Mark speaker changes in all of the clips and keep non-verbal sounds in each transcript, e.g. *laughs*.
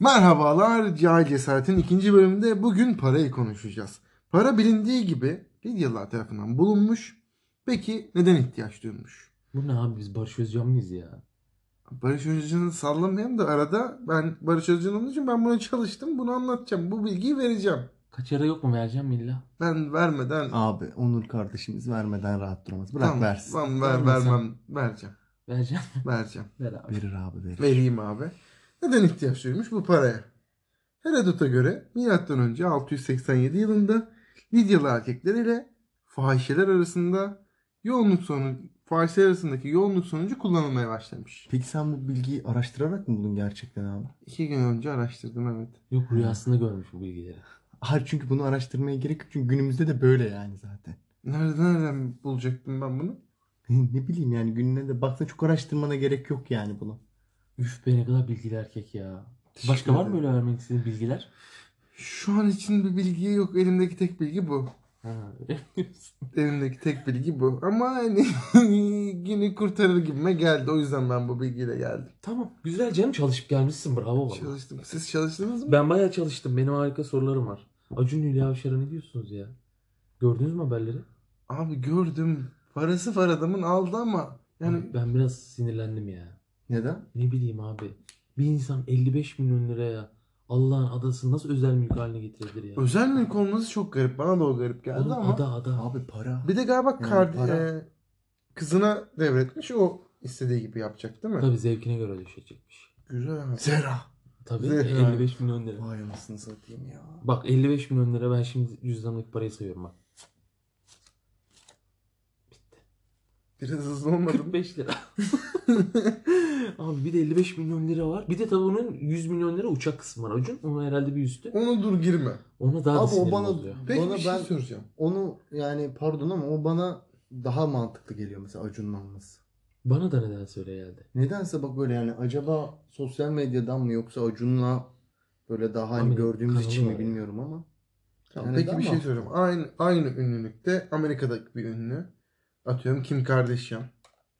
Speaker 1: Merhabalar, Cahil Cesaret'in ikinci bölümünde bugün parayı konuşacağız. Para bilindiği gibi Lidyalılar tarafından bulunmuş. Peki neden ihtiyaç duyulmuş?
Speaker 2: Bu ne abi biz Barış Özcan mıyız ya?
Speaker 1: Barış Özcan'ı sallamayayım da arada ben Barış Özcan olduğu için ben buna çalıştım. Bunu anlatacağım. Bu bilgiyi vereceğim.
Speaker 2: Kaçara yok mu vereceğim illa?
Speaker 1: Ben vermeden...
Speaker 3: Abi Onur kardeşimiz vermeden rahat duramaz. Bırak
Speaker 1: Tamam,
Speaker 3: versin.
Speaker 1: Tamam, ver,
Speaker 2: Vermesem.
Speaker 1: vermem. Vereceğim.
Speaker 2: Vereceğim.
Speaker 1: *laughs* Vereceğim.
Speaker 2: Ver abi.
Speaker 3: Verir abi verir.
Speaker 1: Vereyim abi. Neden ihtiyaç duyulmuş bu paraya? Herodot'a göre milattan önce 687 yılında Lidyalı erkekler ile fahişeler arasında yoğunluk sonu fahişeler arasındaki yoğunluk sonucu kullanılmaya başlamış.
Speaker 3: Peki sen bu bilgiyi araştırarak mı buldun gerçekten abi?
Speaker 1: İki gün önce araştırdım evet.
Speaker 2: Yok rüyasında görmüş bu bilgileri.
Speaker 3: Hayır çünkü bunu araştırmaya gerek yok. Çünkü günümüzde de böyle yani zaten. *laughs*
Speaker 1: Nereden, nereden bulacaktım ben bunu?
Speaker 3: ne bileyim yani gününe de baktın çok araştırmana gerek yok yani bunu.
Speaker 2: Üf be ne kadar bilgili erkek ya.
Speaker 1: Teşekkür
Speaker 2: Başka var
Speaker 1: ederim.
Speaker 2: mı öyle vermek istediğin bilgiler?
Speaker 1: Şu an için bir bilgi yok. Elimdeki tek bilgi bu.
Speaker 2: Ha.
Speaker 1: Elimdeki tek bilgi bu. Ama hani *laughs* günü kurtarır gibime geldi. O yüzden ben bu bilgiyle geldim.
Speaker 2: tamam güzel canım çalışıp gelmişsin bravo bana.
Speaker 1: Çalıştım. Siz çalıştınız mı?
Speaker 2: Ben bayağı çalıştım benim harika sorularım var. Acun Hülya Avşar'a ne diyorsunuz ya? Gördünüz mü haberleri?
Speaker 1: Abi gördüm. Parası var adamın aldı ama yani
Speaker 2: Abi, ben biraz sinirlendim ya.
Speaker 3: Neden?
Speaker 2: Ne bileyim abi. Bir insan 55 milyon liraya Allah'ın adasını nasıl özel mülk haline getirebilir ya?
Speaker 1: özel mülk olması çok garip. Bana da o garip geldi
Speaker 2: Oğlum,
Speaker 1: ama.
Speaker 2: ada ada.
Speaker 3: Abi para.
Speaker 1: Bir de galiba kard-
Speaker 3: para.
Speaker 1: e, kızına devretmiş. O istediği gibi yapacak değil mi?
Speaker 2: Tabii zevkine göre düşecekmiş.
Speaker 1: Güzel abi.
Speaker 3: Zera.
Speaker 2: Tabii
Speaker 1: Zevk yani.
Speaker 2: 55 milyon lira.
Speaker 3: Vay anasını satayım ya.
Speaker 2: Bak 55 milyon lira ben şimdi cüzdanlık parayı sayıyorum bak.
Speaker 1: Biraz hızlı olmadım.
Speaker 2: 45 lira. *laughs* Abi bir de 55 milyon lira var. Bir de tabii onun 100 milyon lira uçak kısmı var Acun. Onun herhalde bir üstü.
Speaker 1: Onu dur girme.
Speaker 2: Ona daha da
Speaker 3: Abi o
Speaker 2: sinirim
Speaker 3: bana-
Speaker 2: bozuyor.
Speaker 1: Peki
Speaker 3: Bana
Speaker 1: bir şey
Speaker 3: ben-
Speaker 1: soracağım.
Speaker 3: Onu yani pardon ama o bana daha mantıklı geliyor mesela Acun'un alması.
Speaker 2: Bana da neden söyle geldi.
Speaker 3: Nedense bak böyle yani acaba sosyal medyadan mı yoksa Acun'la böyle daha hani
Speaker 2: Abi,
Speaker 3: gördüğümüz için
Speaker 2: kanalı
Speaker 3: mi
Speaker 2: var.
Speaker 3: bilmiyorum ama.
Speaker 1: Tamam,
Speaker 3: Yani
Speaker 1: peki
Speaker 3: neden
Speaker 1: bir şey
Speaker 3: var?
Speaker 1: soracağım. Aynı, aynı ünlülükte Amerika'daki bir ünlü. Atıyorum Kim Kardashian.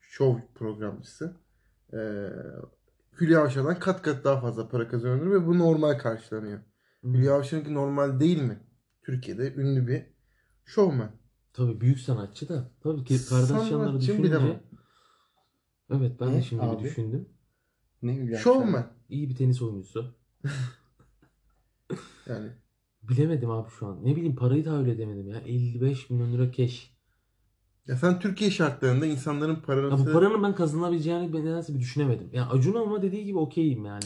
Speaker 1: Şov programcısı. Ee, Hülya Avşar'dan kat kat daha fazla para kazanıyor ve bu normal karşılanıyor.
Speaker 2: Hmm.
Speaker 1: Hülya Avşar'ınki normal değil mi? Türkiye'de ünlü bir şovmen.
Speaker 2: Tabii büyük sanatçı da. Tabii ki Kardashian'ları
Speaker 1: Sanatçı
Speaker 2: düşününce.
Speaker 1: bilemem.
Speaker 2: Evet ben de
Speaker 3: Ne
Speaker 2: şimdi
Speaker 3: abi?
Speaker 2: bir düşündüm.
Speaker 3: Ne Hülya
Speaker 1: Şovmen.
Speaker 2: İyi bir tenis oyuncusu.
Speaker 1: Yani
Speaker 2: Bilemedim abi şu an. Ne bileyim parayı tahayyül edemedim ya. 55 milyon lira cash.
Speaker 1: ya sen Türkiye şartlarında insanların
Speaker 2: Ya bu
Speaker 1: parası
Speaker 2: paranın ben kazanabileceğini ben nedense bir düşünemedim. Ya Acun ama dediği gibi okeyim yani.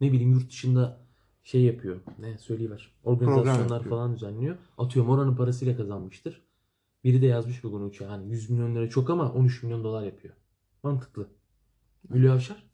Speaker 2: Ne bileyim yurt dışında şey yapıyor. Ne söyleyiver.
Speaker 1: Program
Speaker 2: Organizasyonlar
Speaker 1: yapıyor.
Speaker 2: falan düzenliyor. Atıyorum oranın parasıyla kazanmıştır. Biri de yazmış bugün uçağa. Hani 100 milyon lira çok ama 13 milyon dolar yapıyor. Mantıklı. Hülya Avşar.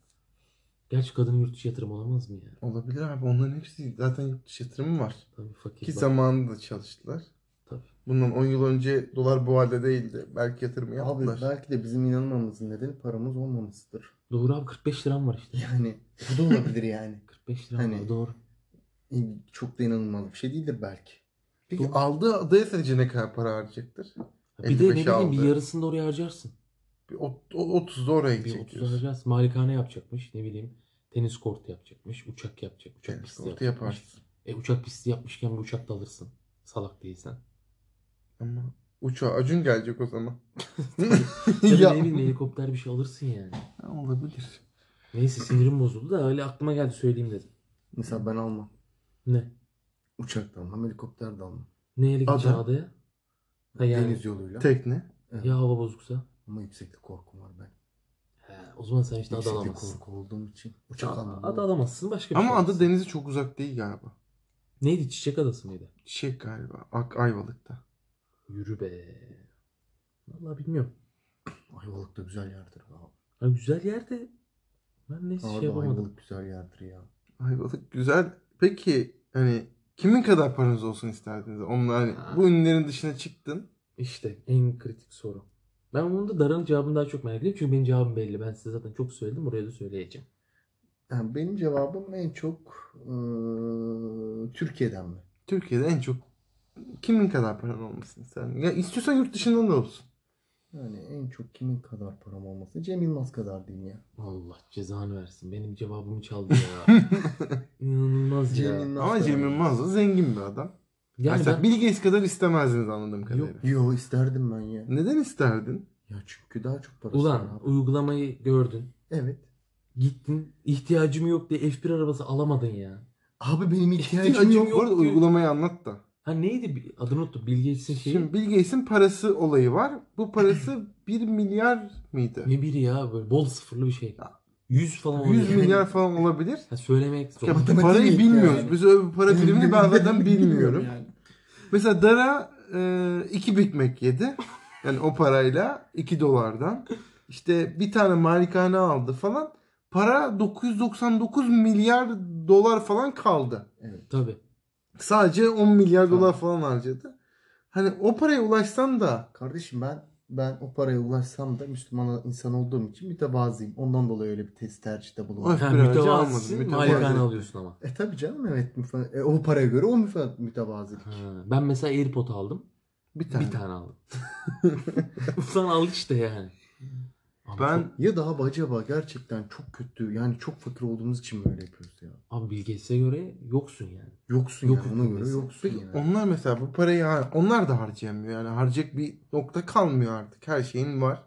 Speaker 2: Gerçi kadının yurt dışı yatırım olamaz mı ya?
Speaker 1: olabilir abi. Onların hepsi zaten yurt dışı yatırımı var.
Speaker 2: Tabii fakir.
Speaker 1: Ki
Speaker 2: bak-
Speaker 1: zamanında da çalıştılar.
Speaker 2: Tabii.
Speaker 1: Bundan 10 yıl önce dolar bu halde değildi. Belki yatırım
Speaker 3: Abi
Speaker 1: yaptılar.
Speaker 3: belki de bizim inanmamızın nedeni paramız olmamasıdır. *laughs*
Speaker 2: Doğru abi 45 liram var işte.
Speaker 3: Yani *laughs* bu da olabilir yani.
Speaker 2: 45 liram
Speaker 3: Hani-
Speaker 2: var doğru.
Speaker 3: Çok da inanılmaz bir şey değildir belki.
Speaker 1: Peki aldığı adaya sence ne kadar para harcayacaktır?
Speaker 2: Bir de ne
Speaker 1: 55'i
Speaker 2: bileyim bir
Speaker 1: aldı.
Speaker 2: yarısını da oraya harcarsın.
Speaker 1: Bir ot- o- 30'da oraya
Speaker 2: Bir
Speaker 1: gidecek
Speaker 2: 30
Speaker 1: diyorsun.
Speaker 2: alacağız. Malikane yapacakmış. Ne bileyim. Tenis kortu yapacakmış. Uçak yapacak. Uçak
Speaker 1: Tenis
Speaker 2: pisti
Speaker 1: kortu
Speaker 2: yapacakmış.
Speaker 1: yaparsın.
Speaker 2: E uçak pisti yapmışken bir uçak da alırsın.
Speaker 1: *laughs*
Speaker 2: Salak değilsen.
Speaker 1: Ama uçağa Acun gelecek o zaman.
Speaker 2: *laughs* Ya, da
Speaker 1: *laughs* Ya.
Speaker 2: ne bileyim helikopter bir şey alırsın yani.
Speaker 1: Olabilir.
Speaker 2: Neyse sinirim bozuldu da öyle aklıma geldi söyleyeyim dedim.
Speaker 3: Mesela ben almam.
Speaker 2: Ne?
Speaker 3: Uçak da almam, helikopter de almam.
Speaker 2: Neyle gideceksin
Speaker 1: Ada.
Speaker 2: adaya? Ha yani.
Speaker 3: Deniz yoluyla.
Speaker 1: Tekne.
Speaker 2: Ya hava bozuksa?
Speaker 3: Ama yükseklik korkum var ben.
Speaker 2: He, o zaman sen işte ada
Speaker 3: Yükseklik
Speaker 2: alamazsın.
Speaker 3: korku olduğum için. Uçak almam.
Speaker 2: Ada alamazsın başka bir
Speaker 1: Ama
Speaker 2: şey
Speaker 1: adı
Speaker 2: alırsın.
Speaker 1: denize çok uzak değil galiba.
Speaker 2: Neydi çiçek adası mıydı?
Speaker 1: Çiçek galiba. Ak Ayvalık'ta.
Speaker 2: Yürü be. Vallahi bilmiyorum.
Speaker 3: Ayvalık da güzel yerdir be abi.
Speaker 2: Ha, güzel yerde ben neyse şey
Speaker 3: Abi
Speaker 2: yapamadım.
Speaker 3: Ayvalık güzel yerdir ya.
Speaker 1: Ayvalık güzel. Peki hani kimin kadar paranız olsun isterdiniz? Onlar hani
Speaker 2: Ha.
Speaker 1: bu ünlülerin dışına çıktın.
Speaker 2: İşte en kritik soru. Ben bunun da Dara'nın cevabını daha çok merak ediyorum. Çünkü benim cevabım belli. Ben size zaten çok söyledim. Buraya da söyleyeceğim.
Speaker 3: Yani benim cevabım en çok eee, Türkiye'den mi?
Speaker 1: Türkiye'de en çok kimin kadar paran olmasını sen? Ya istiyorsan yurt dışından da olsun.
Speaker 3: Yani en çok kimin kadar param olması? Cem Yılmaz kadar diyeyim ya.
Speaker 2: Allah cezanı versin. Benim cevabımı çaldı ya.
Speaker 1: *laughs*
Speaker 2: İnanılmaz ya.
Speaker 3: Cem Yılmaz
Speaker 1: Ama
Speaker 3: kadar.
Speaker 1: Cem Yılmaz da zengin bir adam.
Speaker 2: Yani
Speaker 1: Mesela
Speaker 2: ben,
Speaker 1: Bill Gates kadar istemezdiniz anladığım kadarıyla.
Speaker 2: Yok.
Speaker 3: Yo isterdim ben ya.
Speaker 1: Neden isterdin?
Speaker 3: Ya çünkü daha çok parası var
Speaker 2: ulan
Speaker 3: abi.
Speaker 2: uygulamayı gördün.
Speaker 3: Evet.
Speaker 2: Gittin. ihtiyacım yok diye F1 arabası alamadın ya.
Speaker 3: Abi benim
Speaker 1: Acım
Speaker 3: ihtiyacım
Speaker 1: yok.
Speaker 3: yok.
Speaker 1: Bu arada
Speaker 2: diyor.
Speaker 1: uygulamayı anlat da.
Speaker 2: Ha neydi? Bi- Adını unuttum. Bill Gates'in şeyi.
Speaker 1: Şimdi Bill Gates'in parası olayı var. Bu
Speaker 2: *laughs*
Speaker 1: parası 1 milyar mıydı?
Speaker 2: Ne biri ya böyle bol sıfırlı bir şey.
Speaker 1: Ya.
Speaker 2: 100 falan
Speaker 1: 100
Speaker 2: olabilir.
Speaker 1: milyar falan olabilir.
Speaker 2: *laughs* Ha, söylemek zor.
Speaker 1: Ya
Speaker 3: Matematik
Speaker 1: parayı
Speaker 3: yani.
Speaker 1: bilmiyoruz. Biz öyle bir para birimini ben
Speaker 3: *laughs*
Speaker 1: zaten bilmiyorum.
Speaker 3: Bilmiyorum yani.
Speaker 1: Mesela Dara e, iki Big Mac yedi. Yani o parayla 2 dolardan. İşte bir tane malikane aldı falan. Para 999 milyar dolar falan kaldı.
Speaker 2: Tabii.
Speaker 1: Sadece 10 milyar
Speaker 3: Tamam.
Speaker 1: dolar falan harcadı. Hani o paraya ulaşsan da
Speaker 3: Kardeşim ben ben o paraya ulaşsam da Müslüman insan olduğum için mütevazıyım. Ondan dolayı öyle bir test tercihte bulundum.
Speaker 1: Öf.
Speaker 2: Ha,
Speaker 1: Bir an önce
Speaker 2: mütevazısın,
Speaker 1: almadım,
Speaker 2: malikane
Speaker 1: mütevazı.
Speaker 2: alıyorsun ama.
Speaker 3: E tabi canım evet. müfa- e, o paraya göre o müfa- mütevazilik.
Speaker 2: Ha, ben mesela AirPod aldım.
Speaker 1: bir tane.
Speaker 2: Bir tane *laughs* aldım. Ulan aldık işte yani. Ama
Speaker 1: Ben
Speaker 2: çok-
Speaker 3: Ya da abi acaba gerçekten çok kötü yani çok fakir olduğumuz için mi öyle yapıyoruz ya?
Speaker 2: Abi Bill Gates'e göre yoksun yani.
Speaker 3: Yoksun
Speaker 2: Yok
Speaker 3: yani ona göre
Speaker 2: olmasın.
Speaker 3: yoksun
Speaker 1: Peki
Speaker 3: yani.
Speaker 1: onlar mesela bu parayı har- onlar da harcayamıyor. Yani harcayacak bir nokta kalmıyor artık. Her şeyin var.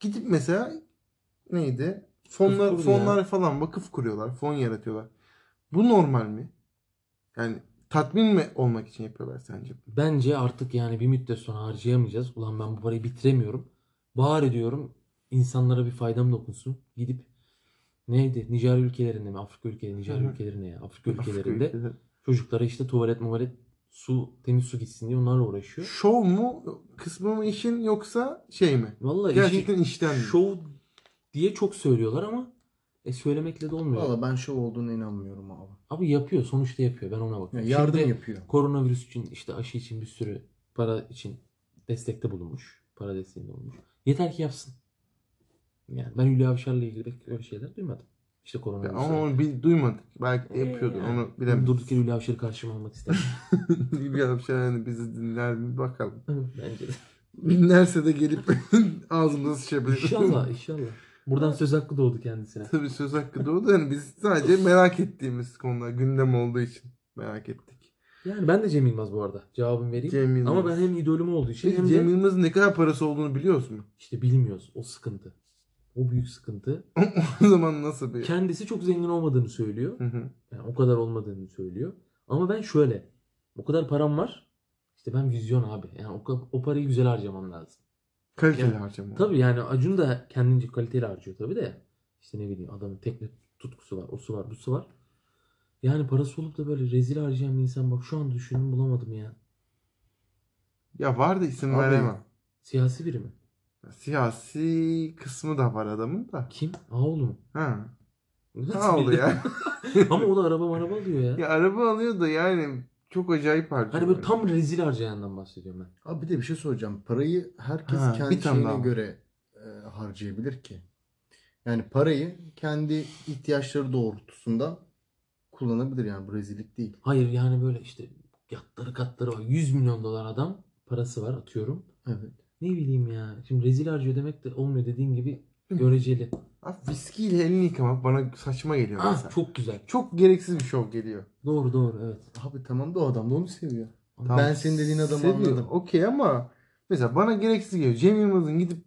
Speaker 1: Gidip mesela neydi? Fonlar
Speaker 2: kuruyor.
Speaker 1: fonlar falan vakıf kuruyorlar. Fon yaratıyorlar. Bu normal mi? Yani tatmin mi olmak için yapıyorlar sence?
Speaker 2: Bence artık yani bir müddet sonra harcayamayacağız. Ulan ben bu parayı bitiremiyorum. Bağır ediyorum. İnsanlara bir faydam dokunsun. Gidip neydi? Nijerya ülkelerinde mi? Afrika ülkeleri,
Speaker 1: Hı
Speaker 2: Nijerya
Speaker 1: hı.
Speaker 2: ülkelerinde ya. Afrika
Speaker 1: Afrika
Speaker 2: ülkelerinde
Speaker 1: ülkeleri.
Speaker 2: çocuklara işte tuvalet, muvalet, su, temiz su gitsin diye onlarla uğraşıyor.
Speaker 1: Şov mu kısmı mı işin yoksa şey mi?
Speaker 2: Vallahi
Speaker 1: Gerçekten işten mi?
Speaker 2: şov diye çok söylüyorlar ama e söylemekle de olmuyor.
Speaker 3: Valla ben şov olduğuna inanmıyorum abi.
Speaker 2: Abi yapıyor, sonuçta yapıyor. Ben ona bakıyorum.
Speaker 3: Yani yardım
Speaker 2: Şimdi
Speaker 3: yapıyor.
Speaker 2: koronavirüs için işte aşı için bir sürü para için destekte bulunmuş. Para desteğinde olmuş. Yeter ki yapsın. Yani ben Hülya Avşar'la ilgili pek öyle şeyler duymadım. İşte
Speaker 1: Ya
Speaker 2: koronavirüs.
Speaker 1: Ama onu bil- duymadık. Belki de yapıyordu.
Speaker 2: Ee,
Speaker 1: Onu
Speaker 2: Ben
Speaker 1: bilemedim.
Speaker 2: durduk yere Hülya Avşar'ı karşıma almak istedim.
Speaker 1: *laughs* bir şey yani bizi dinler mi bakalım.
Speaker 2: Bence de.
Speaker 1: Dinlerse de gelip *laughs* ağzımıza sıçabilir.
Speaker 2: İnşallah, inşallah. Buradan söz hakkı doğdu kendisine.
Speaker 1: *laughs* Tabii söz hakkı doğdu. Yani hani biz sadece merak ettiğimiz konular gündem olduğu için merak ettik.
Speaker 2: Yani ben de Cem Yılmaz bu arada. Cevabımı vereyim.
Speaker 1: Cem Yılmaz.
Speaker 2: Ama ben hem idolüm olduğu için
Speaker 1: Peki
Speaker 2: hem de
Speaker 1: Cem Yılmaz'ın ne kadar parası olduğunu biliyoruz mu? *laughs*
Speaker 2: işte bilmiyoruz. O sıkıntı. O büyük sıkıntı.
Speaker 1: o zaman nasıl bir...
Speaker 2: Kendisi çok zengin olmadığını söylüyor.
Speaker 1: Hı hı.
Speaker 2: Yani o kadar olmadığını söylüyor. Ama ben şöyle. O kadar param var. İşte ben vizyon abi. Yani o, ka- o parayı güzel harcamam lazım.
Speaker 1: Kaliteli
Speaker 2: Ya,
Speaker 1: harcama.
Speaker 2: Tabii yani Acun da kendince kaliteli harcıyor tabii de. İşte ne bileyim adamın tekne tutkusu var. O su var, bu su var. Yani parası olup da böyle rezil harcayan bir insan bak şu an düşündüm bulamadım ya.
Speaker 1: Ya var da isim
Speaker 3: Abi-
Speaker 1: veremem.
Speaker 2: Siyasi biri mi?
Speaker 1: Siyasi kısmı da var adamın da.
Speaker 2: Kim? Ağoğlu mu?
Speaker 1: Ha.
Speaker 2: Nasıl
Speaker 1: Ne oldu
Speaker 2: bildin?
Speaker 1: ya?
Speaker 2: *laughs*
Speaker 1: *laughs*
Speaker 2: Ama o da araba maraba alıyor ya.
Speaker 1: ya araba alıyor da yani çok acayip harcıyor.
Speaker 2: Hani böyle tam rezil harcayandan bahsediyorum ben.
Speaker 3: Abi bir de bir şey soracağım. Parayı herkes
Speaker 1: Ha,
Speaker 3: kendi
Speaker 1: bir tane
Speaker 3: şeyine
Speaker 1: daha.
Speaker 3: göre e, harcayabilir ki. Yani parayı kendi ihtiyaçları doğrultusunda kullanabilir yani bu rezillik değil.
Speaker 2: Hayır yani böyle işte yatları katları var. 100 milyon dolar adam parası var atıyorum.
Speaker 3: Evet.
Speaker 2: Ne bileyim ya. Şimdi rezil harcıyor demek de olmuyor dediğin gibi göreceli.
Speaker 1: Abi viskiyle elini yıkamak bana saçma geliyor
Speaker 2: Ah
Speaker 1: mesela. Çok...
Speaker 2: çok güzel.
Speaker 1: gereksiz bir şov geliyor.
Speaker 2: Doğru doğru evet.
Speaker 3: Abi tamam da o adam da onu seviyor.
Speaker 2: Ama
Speaker 1: Tamam,
Speaker 3: Ben senin dediğin adamı
Speaker 1: seviyorum.
Speaker 3: anladım.
Speaker 1: Okey ama mesela bana gereksiz geliyor. Cem Yılmaz'ın gidip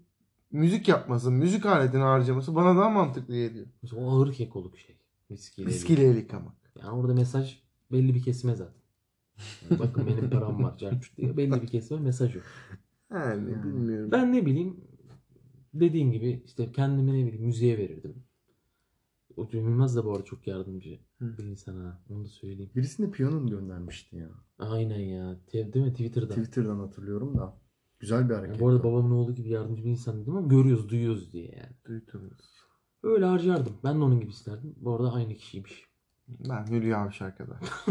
Speaker 1: müzik yapması, müzik aletini harcaması bana daha mantıklı geliyor.
Speaker 2: ben- Mesela o ağır kekoluk şey. Viskiyle.
Speaker 1: Viskiyle el yıkamak.
Speaker 2: Yani orada mesaj belli bir kesime zaten. Yani Bakın benim param var. Carçut diye belli bir kesime mesaj yok.
Speaker 1: Yani
Speaker 3: Hmm.
Speaker 1: bilmiyorum.
Speaker 2: Ben ne bileyim dediğin gibi işte kendimi ne bileyim müziğe verirdim. O Cem Yılmaz da bu arada çok yardımcı
Speaker 1: Hı.
Speaker 2: bir insan ha. Onu da söyleyeyim.
Speaker 3: Birisine piyano mu göndermişti ya?
Speaker 2: Aynen ya. Te- Değil mi? Twitter'da.
Speaker 3: Twitter'dan hatırlıyorum da. Güzel bir
Speaker 2: Yani
Speaker 3: hareket.
Speaker 2: bu arada
Speaker 3: o.
Speaker 2: babamın oğlu gibi yardımcı bir insan dedim ama görüyoruz, duyuyoruz diye yani.
Speaker 1: Duydunuz.
Speaker 2: Öyle harcardım. Ben de onun gibi isterdim. Bu arada aynı kişiymiş.
Speaker 1: Ben Hülya Avşar kadar.
Speaker 2: *laughs*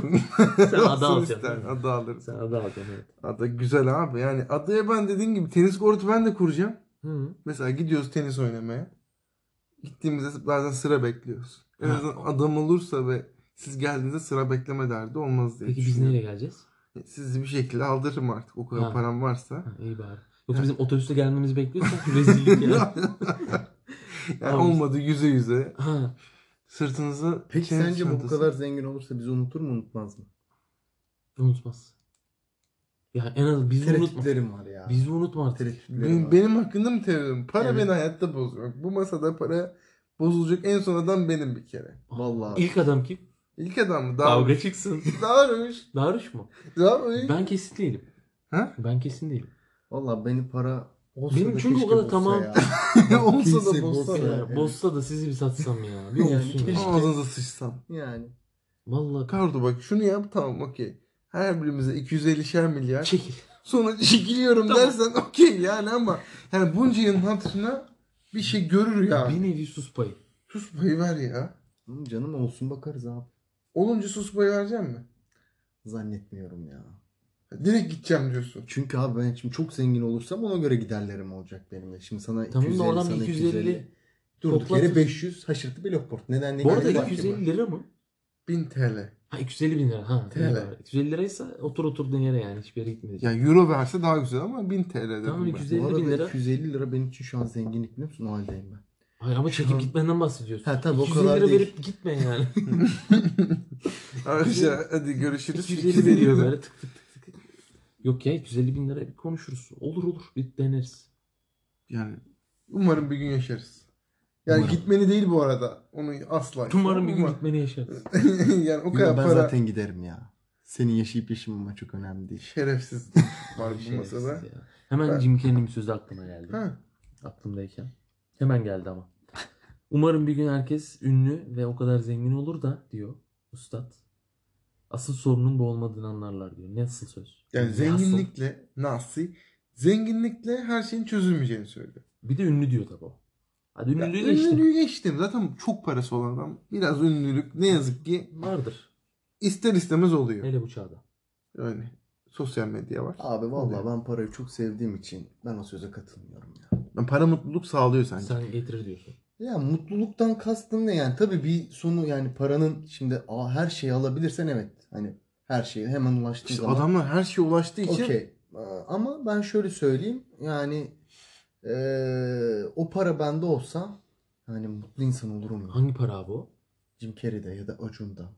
Speaker 2: Sen
Speaker 1: Olsun
Speaker 2: ada alacaksın.
Speaker 1: ister,
Speaker 2: değil mi?
Speaker 1: Ada alırız.
Speaker 2: Sen ada alacaksın evet.
Speaker 1: Ada güzel abi. Yani adaya ben dediğim gibi tenis kortu ben de kuracağım.
Speaker 2: Hı.
Speaker 1: Mesela gidiyoruz tenis oynamaya. Gittiğimizde bazen sıra bekliyoruz. En
Speaker 2: Ha.
Speaker 1: azından adam olursa ve siz geldiğinizde sıra bekleme derdi olmaz diye
Speaker 2: Peki biz
Speaker 1: düşünüyorum.
Speaker 2: nereye geleceğiz?
Speaker 1: Sizi bir şekilde aldırırım artık o kadar
Speaker 2: Ha.
Speaker 1: param varsa. *laughs*
Speaker 2: Ha, iyi bari. Yoksa bizim otobüste gelmemizi bekliyorsan
Speaker 3: *laughs*
Speaker 2: rezillik ya.
Speaker 1: yani
Speaker 2: Olmaz.
Speaker 1: olmadı yüze yüze.
Speaker 2: Ha,
Speaker 1: Sırtınızı
Speaker 3: Peki
Speaker 1: tenis
Speaker 3: sence bu bu
Speaker 1: çantası-
Speaker 3: kadar zengin olursa bizi unutur mu unutmaz mı?
Speaker 2: unutmaz. Yani en az bizi unutma.
Speaker 3: Tereddütlerim var ya.
Speaker 2: Bizi unutma artık.
Speaker 3: Tereddütlerim
Speaker 1: Benim,
Speaker 3: var.
Speaker 1: benim hakkında mı terim? Para
Speaker 3: Evet.
Speaker 1: beni hayatta bozuyor. Bu masada para bozulacak en son adam benim bir kere.
Speaker 3: Vallahi.
Speaker 2: İlk adam kim?
Speaker 1: İlk adam mı? Davruş. *laughs*
Speaker 2: Kavga çıksın.
Speaker 1: Davruş.
Speaker 2: Daruş mu?
Speaker 1: Davruş.
Speaker 2: Ben kesin değilim.
Speaker 1: Ha?
Speaker 2: Ben kesin değilim.
Speaker 3: Vallahi beni para olsa
Speaker 2: Benim
Speaker 3: da
Speaker 2: çünkü o
Speaker 3: keşke
Speaker 2: kadar
Speaker 3: bulsa
Speaker 2: tamam- *laughs*
Speaker 3: ya.
Speaker 1: Olsa da
Speaker 3: Kimse
Speaker 1: bozsa
Speaker 3: bozsa
Speaker 1: da.
Speaker 3: Evet.
Speaker 2: Bossa da sizi bir satsam ya. Bir
Speaker 3: *laughs*
Speaker 2: şey-
Speaker 3: Yani
Speaker 2: olsun ya.
Speaker 3: keşke-
Speaker 1: Ağzınıza sıçsam.
Speaker 3: Yani.
Speaker 2: Vallahi
Speaker 1: Kardo bak şunu yap tamam okey. Her birimize 250'şer milyar.
Speaker 2: çekil.
Speaker 1: Sonra *laughs* çekiliyorum
Speaker 2: Tamam.
Speaker 1: dersen okey yani ama yani bunca yılın hatırına bir şey görür ya.
Speaker 2: Bir nevi sus payı.
Speaker 1: Sus payı ver ya.
Speaker 3: Hı, Canım olsun bakarız abi.
Speaker 1: Olunca sus payı verecek mi?
Speaker 3: Zannetmiyorum ya.
Speaker 1: Direkt gideceğim diyorsun.
Speaker 3: Çünkü abi ben şimdi çok zengin olursam ona göre giderlerim olacak benim de. Şimdi sana
Speaker 2: Tamam da
Speaker 3: 250
Speaker 2: oradan
Speaker 3: sana
Speaker 2: bir
Speaker 3: 250.
Speaker 2: 250
Speaker 3: Durduk yere
Speaker 2: toplarsın.
Speaker 3: 500 haşırtı bir lokport. Neden ne
Speaker 2: Bu arada
Speaker 1: Yani bak
Speaker 3: gerek
Speaker 1: ki
Speaker 2: 250 lira mı?
Speaker 1: 1000 TL.
Speaker 2: Ha 250 bin lira. Ha,
Speaker 1: TL.
Speaker 2: iyi bari. 250 liraysa otur oturduğun yere yani hiçbir yere gitmeyeceksin.
Speaker 1: Yani euro verse daha güzel ama 1000 TL dedim
Speaker 2: Tamam,
Speaker 1: ben.
Speaker 2: 250
Speaker 3: Bu
Speaker 2: 250 bin
Speaker 3: arada
Speaker 2: lira.
Speaker 3: 250 lira benim için şu an zenginlik biliyor musun? O haldeyim ben.
Speaker 2: Hayır ama çekip
Speaker 3: an-
Speaker 2: gitmenden bahsediyorsun.
Speaker 3: Ha, tabii o
Speaker 2: 250
Speaker 3: kadar
Speaker 2: lira
Speaker 3: değil.
Speaker 2: verip gitme
Speaker 3: *laughs*
Speaker 2: yani.
Speaker 1: Arkadaşlar şey, hadi görüşürüz.
Speaker 2: 250 bin lira böyle tık tık tık tık. Yok ya 250 bin lira bir konuşuruz. Olur olur bir deneriz.
Speaker 1: Yani umarım bir gün yaşarız. Yani
Speaker 3: Umarım.
Speaker 1: gitmeni değil bu arada. Onu asla.
Speaker 2: Umarım bir gün
Speaker 1: Ama-
Speaker 2: gitmeni
Speaker 3: *laughs*
Speaker 2: yaşarız.
Speaker 1: *laughs* yani o kadar
Speaker 3: Yok, ben
Speaker 1: para.
Speaker 3: zaten giderim ya. Senin yaşayıp yaşamaman çok önemli değil.
Speaker 1: *laughs* Şerefsiz var
Speaker 2: Şey,
Speaker 1: bu masada.
Speaker 2: Şerefsiz ya. Hemen
Speaker 1: Ben-
Speaker 2: Jim Carrey'in bir sözü aklıma geldi.
Speaker 1: Ha,
Speaker 2: Aklımdayken. Hemen geldi ama. Umarım bir gün herkes ünlü ve o kadar zengin olur da diyor ustad. Asıl sorunun bu olmadığını anlarlar diyor. Nasıl söz?
Speaker 1: yani
Speaker 2: Nasıl?
Speaker 1: zenginlikle nasıl? Zenginlikle her şeyin çözülmeyeceğini söylüyor.
Speaker 2: Bir de ünlü diyor tabii o. Hadi
Speaker 1: Ya,
Speaker 2: ünlülüğü de işte.
Speaker 1: ünlülüğü geçtim. Zaten çok parası olan adam biraz ünlülük ne yazık ki
Speaker 2: Vardır.
Speaker 1: ister istemez oluyor.
Speaker 2: Hele bu çağda.
Speaker 1: Yani sosyal medya var.
Speaker 3: Abi vallahi
Speaker 1: Oluyor.
Speaker 3: ben parayı çok sevdiğim için ben o söze katılmıyorum ya.
Speaker 1: Yani para mutluluk sağlıyor sanki.
Speaker 2: Sen getirir diyorsun.
Speaker 3: Ya mutluluktan kastım ne yani? Tabii bir sonu yani paranın şimdi "Aa, her şeyi alabilirsen evet. Hani her şeyi hemen ulaştığın
Speaker 1: İşte
Speaker 3: zaman.
Speaker 1: adamlar her şeye ulaştığı için
Speaker 3: Okey. Ee, Ama ben şöyle söyleyeyim. Yani eee, o para bende olsa hani mutlu insan olurum. ya.
Speaker 2: Hangi para abi o?
Speaker 3: Jim Carrey'de ya da Acun'da.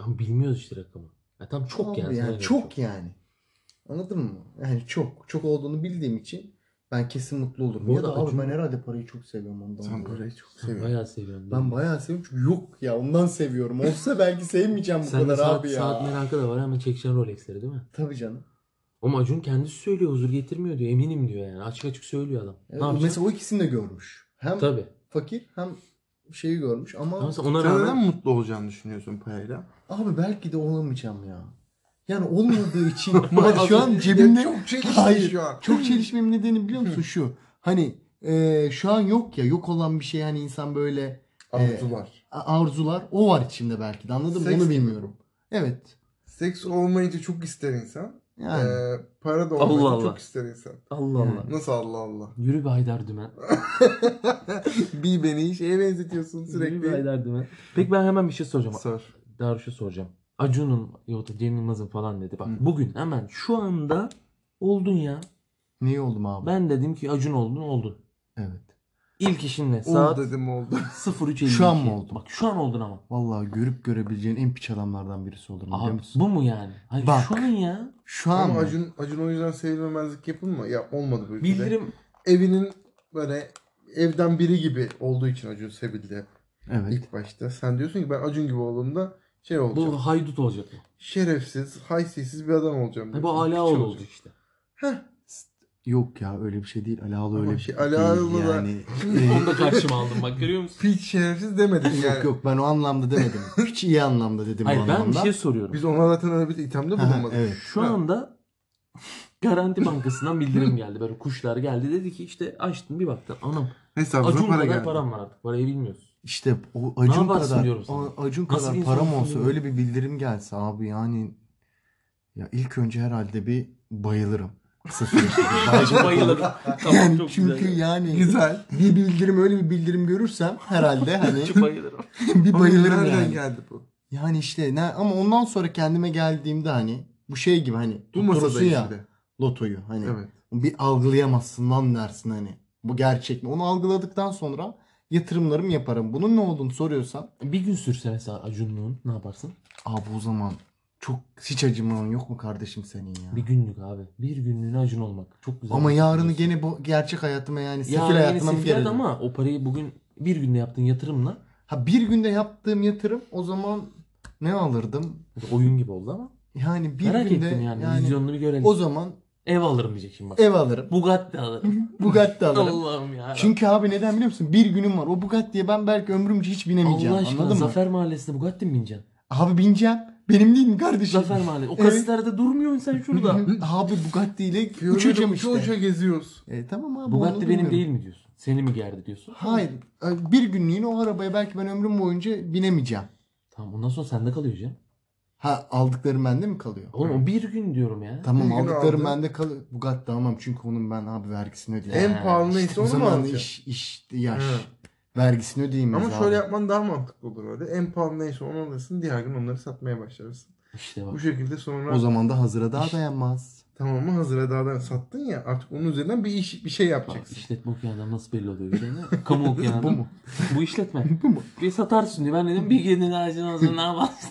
Speaker 2: Lan bilmiyoruz işte rakamı. Ya tam çok
Speaker 3: Abi
Speaker 2: yani. sana göre
Speaker 3: çok yani. Anladın mı? Yani çok. Çok olduğunu bildiğim için ben kesin mutlu olurum.
Speaker 2: Bu
Speaker 3: Ya da
Speaker 2: arada
Speaker 3: abi
Speaker 2: Acun-
Speaker 3: ben herhalde parayı çok seviyorum ondan.
Speaker 1: sen
Speaker 3: dolayı.
Speaker 1: parayı çok
Speaker 2: Sen
Speaker 1: seviyorsun.
Speaker 2: Bayağı seviyorum.
Speaker 3: Ben bayağı seviyorum çünkü yok ya ondan seviyorum. Olsa belki sevmeyeceğim bu
Speaker 2: Sen de
Speaker 3: kadar
Speaker 2: saat,
Speaker 3: abi ya.
Speaker 2: saat merakı da var hemen çekeceksin Rolex'leri değil mi?
Speaker 3: Tabii canım.
Speaker 2: Ama Acun kendisi söylüyor huzur getirmiyor diyor eminim diyor yani açık açık söylüyor adam.
Speaker 3: Evet,
Speaker 2: ne
Speaker 3: o-
Speaker 2: yapacak?
Speaker 3: mesela o ikisini de görmüş. Hem
Speaker 2: Tabii.
Speaker 3: fakir hem şeyi görmüş ama
Speaker 2: Ama mesela ona
Speaker 1: Sen
Speaker 2: rağmen
Speaker 1: neden mutlu olacağını düşünüyorsun parayla?
Speaker 3: abi belki de olamayacağım ya. Yani
Speaker 2: *laughs*
Speaker 3: olmadığı için Bak
Speaker 1: Az
Speaker 3: şu an
Speaker 1: önce-
Speaker 3: cebimde
Speaker 1: çok çelişki
Speaker 3: Hayır.
Speaker 1: şu an.
Speaker 3: çok çelişmemin nedeni
Speaker 2: *laughs*
Speaker 3: biliyor musun şu. Hani e, şu an yok ya yok olan bir şey hani insan böyle
Speaker 1: Ee, Arzular.
Speaker 3: a- arzular o var içinde belki de anladın mı
Speaker 1: Seks
Speaker 3: onu
Speaker 1: mi?
Speaker 3: bilmiyorum. Evet.
Speaker 1: Seks olmayınca çok ister insan.
Speaker 3: Yani.
Speaker 1: Ee, para da
Speaker 2: Allah
Speaker 1: olmayınca
Speaker 2: Allah.
Speaker 1: çok ister insan.
Speaker 2: Allah
Speaker 3: Yani.
Speaker 2: Allah.
Speaker 1: Nasıl Allah Allah? *laughs*
Speaker 2: Yürü be Haydar Dümen.
Speaker 1: bir beni şeye benzetiyorsun
Speaker 2: Yürü be
Speaker 1: sürekli.
Speaker 2: Haydar Dümen. Peki ben hemen bir şey soracağım.
Speaker 1: Sor.
Speaker 2: Darüş'e şey soracağım. Acun'un yok da Cem Yılmaz'ın falan dedi. Bak
Speaker 3: Hı.
Speaker 2: bugün hemen şu anda oldun ya.
Speaker 3: Neyi oldum abi?
Speaker 2: Ben dedim ki Acun oldun oldun.
Speaker 3: Evet.
Speaker 2: İlk işin ne?
Speaker 1: Saat...
Speaker 2: Saat
Speaker 1: Oldu dedim oldu.
Speaker 2: 03.52.
Speaker 3: Şu an mı oldum?
Speaker 2: Bak şu an oldun ama.
Speaker 3: Vallahi görüp görebileceğin en piç adamlardan birisi olurum biliyor
Speaker 2: Abi
Speaker 3: musun?
Speaker 2: bu mu yani? Hayır
Speaker 3: Bak.
Speaker 2: şu an ya.
Speaker 3: Şu an
Speaker 1: Ama
Speaker 3: mı?
Speaker 1: Acun, Acun o yüzden sevilmemezlik yapılma. Ya olmadı bu ülkede.
Speaker 2: Bildirim
Speaker 1: Evinin böyle evden biri gibi olduğu için Acun sevildi
Speaker 3: Evet.
Speaker 1: ilk başta. Sen diyorsun ki ben Acun gibi olduğumda şey olacağım.
Speaker 2: bu haydut olacak mı?
Speaker 1: Şerefsiz, haysiyetsiz bir adam olacağım.
Speaker 2: Ha,
Speaker 1: diyorsun.
Speaker 2: bu ala
Speaker 1: Şey
Speaker 2: oldu
Speaker 1: olacak.
Speaker 2: işte.
Speaker 1: Heh.
Speaker 3: Yok ya öyle bir şey değil. Alalı
Speaker 1: Ama
Speaker 3: öyle bir
Speaker 1: şey,
Speaker 3: şey.
Speaker 1: Alalı
Speaker 3: değil
Speaker 1: da-
Speaker 2: *laughs*
Speaker 3: yani.
Speaker 2: Onu da karşıma aldım bak görüyor musun?
Speaker 1: Piç şerefsiz demedik yani.
Speaker 3: yok yok ben o anlamda demedim. Hiç iyi anlamda dedim o
Speaker 2: Hayır ben bir
Speaker 3: anlamda.
Speaker 2: şey soruyorum.
Speaker 1: Biz ona zaten öyle bir ithamda
Speaker 3: Ha,
Speaker 1: bulunmadık.
Speaker 3: evet.
Speaker 2: Şu
Speaker 1: Ha.
Speaker 2: anda *laughs* Garanti Bankası'ndan bildirim geldi. Böyle kuşlar geldi. Dedi ki işte açtım bir baktım. Anam
Speaker 1: Hesabına
Speaker 2: Acun
Speaker 1: para
Speaker 2: kadar
Speaker 1: geldi.
Speaker 2: param var artık. Parayı bilmiyoruz.
Speaker 3: İşte o Acun
Speaker 2: yaparsın
Speaker 3: kadar
Speaker 2: diyorum sana.
Speaker 3: o Acun
Speaker 2: Nasıl
Speaker 3: kadar
Speaker 2: bir
Speaker 3: param
Speaker 2: insansın
Speaker 3: olsa
Speaker 2: diyorum.
Speaker 3: öyle bir bildirim gelse abi yani ya ilk önce herhalde bir bayılırım. Sıfır. *laughs*
Speaker 2: *laughs* Bayılır. tamam
Speaker 3: Yani
Speaker 2: çok
Speaker 3: *laughs* çünkü
Speaker 2: güzel.
Speaker 3: yani
Speaker 1: *laughs* Güzel.
Speaker 3: bir bildirim öyle bir bildirim görürsem herhalde hani
Speaker 2: Çok bayılırım.
Speaker 3: *laughs* bir
Speaker 1: Ama
Speaker 3: *laughs* bayılırım
Speaker 1: nereden
Speaker 3: yani.
Speaker 1: geldi bu?
Speaker 3: Yani işte ne ama ondan sonra kendime geldiğimde hani bu şey gibi hani
Speaker 1: Bu
Speaker 3: tutturursun
Speaker 1: masadayız
Speaker 3: ya
Speaker 1: bir de.
Speaker 3: lotoyu hani
Speaker 1: Evet.
Speaker 3: bir algılayamazsın lan dersin hani bu gerçek mi? Onu algıladıktan sonra yatırımlarımı yaparım. Bunun ne olduğunu soruyorsan
Speaker 2: Bir gün sürse mesela Acunluğun ne yaparsın?
Speaker 3: abi o zaman çok hiç acıman yok mu kardeşim senin ya?
Speaker 2: Bir günlük abi. Bir günlüğüne Acun olmak. Çok güzel.
Speaker 3: Ama
Speaker 2: bir şey
Speaker 3: yarını
Speaker 2: biliyorsun.
Speaker 3: gene bu gerçek hayatıma yani sefil
Speaker 2: Yarın yine
Speaker 3: hayatıma mı
Speaker 2: sefil hayat
Speaker 3: gelelim?
Speaker 2: ama o parayı bugün bir günde yaptığın yatırımla
Speaker 3: Ha bir günde yaptığım yatırım o zaman ne alırdım?
Speaker 2: oyun gibi oldu ama.
Speaker 3: Yani bir
Speaker 2: Merak
Speaker 3: günde
Speaker 2: ettim yani. Vizyonunu bir görelim.
Speaker 3: o zaman
Speaker 2: Ev alırım diyecek şimdi bak.
Speaker 3: ev alırım.
Speaker 2: Bugatti alırım.
Speaker 3: Bugatti alırım.
Speaker 2: Allah'ım ya.
Speaker 3: Çünkü abi neden biliyor musun? Bir günüm var. O Bugatti'ye ben belki ömrümce hiç binemeyeceğim.
Speaker 2: Allah aşkına
Speaker 3: anladın mı?
Speaker 2: Zafer Mahallesi'nde Bugatti mi bineceksin?
Speaker 3: Abi bineceğim. Benim değil mi kardeşim?
Speaker 2: Zafer Mahallesi. O
Speaker 3: Evet.
Speaker 2: kasitlerde durmuyorsun sen
Speaker 3: *laughs*
Speaker 2: şurada.
Speaker 3: abi Bugatti ile uçacağım
Speaker 1: Uçacağım
Speaker 3: işte.
Speaker 1: Uça geziyoruz.
Speaker 3: E, tamam abi. onu
Speaker 2: Bugatti benim
Speaker 3: bilmiyorum.
Speaker 2: değil mi diyorsun? Seni mi gerdi diyorsun?
Speaker 3: Hayır. e, Bir günlüğüne o arabaya belki ben ömrüm boyunca binemeyeceğim.
Speaker 2: Tamam ondan sonra sende kalıyor canım.
Speaker 3: Ha aldıklarım bende mi kalıyor?
Speaker 2: Oğlum o bir gün diyorum ya.
Speaker 3: Tamam
Speaker 1: Bir gün
Speaker 3: aldıklarım
Speaker 1: aldın.
Speaker 3: bende kalıyor. Bugatti almam çünkü onun ben abi vergisini ödeyeceğim.
Speaker 2: Ha,
Speaker 1: En pahalı neyse
Speaker 3: o
Speaker 1: onu mu
Speaker 3: zaman
Speaker 1: alacaksın?
Speaker 3: iş, iş, yaş.
Speaker 1: Evet.
Speaker 3: Vergisini ödeyeyim
Speaker 1: Ama
Speaker 3: biz
Speaker 1: şöyle
Speaker 3: abi.
Speaker 1: yapman daha mantıklı olur öyle. En pahalı neyse onu alırsın. Diğer gün onları satmaya başlarsın.
Speaker 2: İşte
Speaker 1: Bu
Speaker 2: bak.
Speaker 1: şekilde sonra
Speaker 3: O zaman da hazıra daha dayanmaz.
Speaker 1: tamamı hazıra dağdan sattın ya artık onun üzerinden bir iş bir şey
Speaker 2: Bak
Speaker 1: yapacaksın.
Speaker 2: işletme okuyandan nasıl belli oluyor bir tane? *laughs* Kamu okuyandan.
Speaker 3: Bu mu?
Speaker 2: Bu işletme.
Speaker 3: Bu mu?
Speaker 2: Bir satarsın diye. Ben dedim bir gelin ağacın ağzına ne yaparsın?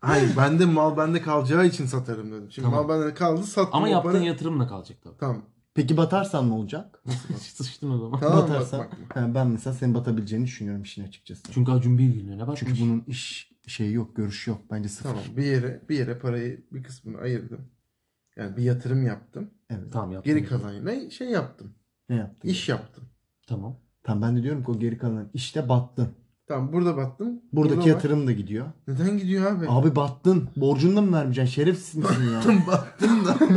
Speaker 1: Hayır bende mal bende kalacağı için satarım dedim. Şimdi
Speaker 2: Tamam.
Speaker 1: mal bende kaldı sattım.
Speaker 2: Ama
Speaker 1: o
Speaker 2: yaptığın
Speaker 1: para-
Speaker 2: yatırımla kalacak tabii.
Speaker 1: Tamam.
Speaker 3: Peki batarsan ne olacak?
Speaker 2: Sıçtın o zaman.
Speaker 1: Tamam
Speaker 3: batarsan.
Speaker 1: bak, bakma.
Speaker 3: Ha, ben mesela senin batabileceğini düşünüyorum işin açıkçası. Çünkü,
Speaker 2: Çünkü Acun bir günlüğüne bakmış.
Speaker 3: bunun iş şeyi yok, görüşü yok. Bence sıfır.
Speaker 1: Tamam bir yere bir yere parayı bir kısmını ayırdım. Yani bir yatırım yaptım.
Speaker 3: Evet.
Speaker 2: Tamam yaptın.
Speaker 1: Geri kalanıyla şey yaptım.
Speaker 3: Ne yaptın?
Speaker 1: İş yaptım.
Speaker 2: Tamam.
Speaker 3: Tamam ben de diyorum ki o geri kalan işte battın.
Speaker 1: Tamam burada battım.
Speaker 3: Buradaki
Speaker 1: burada bak.
Speaker 3: yatırım da gidiyor.
Speaker 1: Neden gidiyor abi?
Speaker 3: Abi battın. Borcunu da mı vermeyeceksin? Şerefsiz
Speaker 1: *laughs*
Speaker 3: misin ya?
Speaker 1: battım da.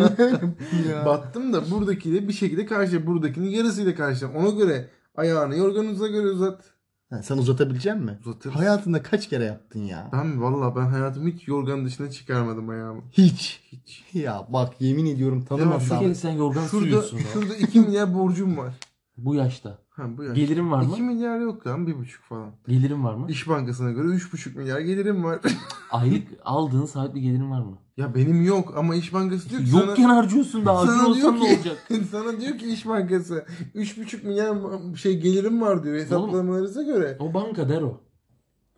Speaker 3: Ya.
Speaker 1: battım da buradakiyle bir şekilde karşı buradakinin yarısıyla karşı. Ona göre ayağını yorganunuza göre uzat.
Speaker 3: Ha, sen uzatabilecek misin?
Speaker 1: Uzatırız.
Speaker 3: Hayatında kaç kere yaptın ya?
Speaker 1: Ben valla ben hayatımı hiç yorganın dışına çıkarmadım ayağımı.
Speaker 3: Hiç.
Speaker 1: Hiç.
Speaker 3: Ya bak yemin ediyorum
Speaker 2: Şu
Speaker 3: tanımasam.
Speaker 2: kere sen
Speaker 1: Şurada,
Speaker 2: yorgan sürüyorsun. ya.
Speaker 1: şurada 2 milyar borcum var.
Speaker 2: Bu yaşta.
Speaker 1: Ha bu ya.
Speaker 2: Gelirim var
Speaker 1: 2
Speaker 2: mı?
Speaker 1: milyar yok lan 1,5 falan.
Speaker 2: Gelirim var mı?
Speaker 1: İş Bankası'na göre 3,5 milyar gelirim var. *laughs*
Speaker 2: Aylık aldığın saat bir gelirin var mı?
Speaker 1: ya benim yok ama İş Bankası diyor ki
Speaker 2: Yokken harcıyorsun daha.
Speaker 1: sana
Speaker 2: Acun
Speaker 1: diyor
Speaker 2: olsan
Speaker 1: ki-
Speaker 2: ne olacak?
Speaker 1: *laughs* sana, sana diyor ki İş Bankası 3,5 milyar ma- şey gelirim var diyor hesaplamalarınıza göre.
Speaker 2: O banka der o.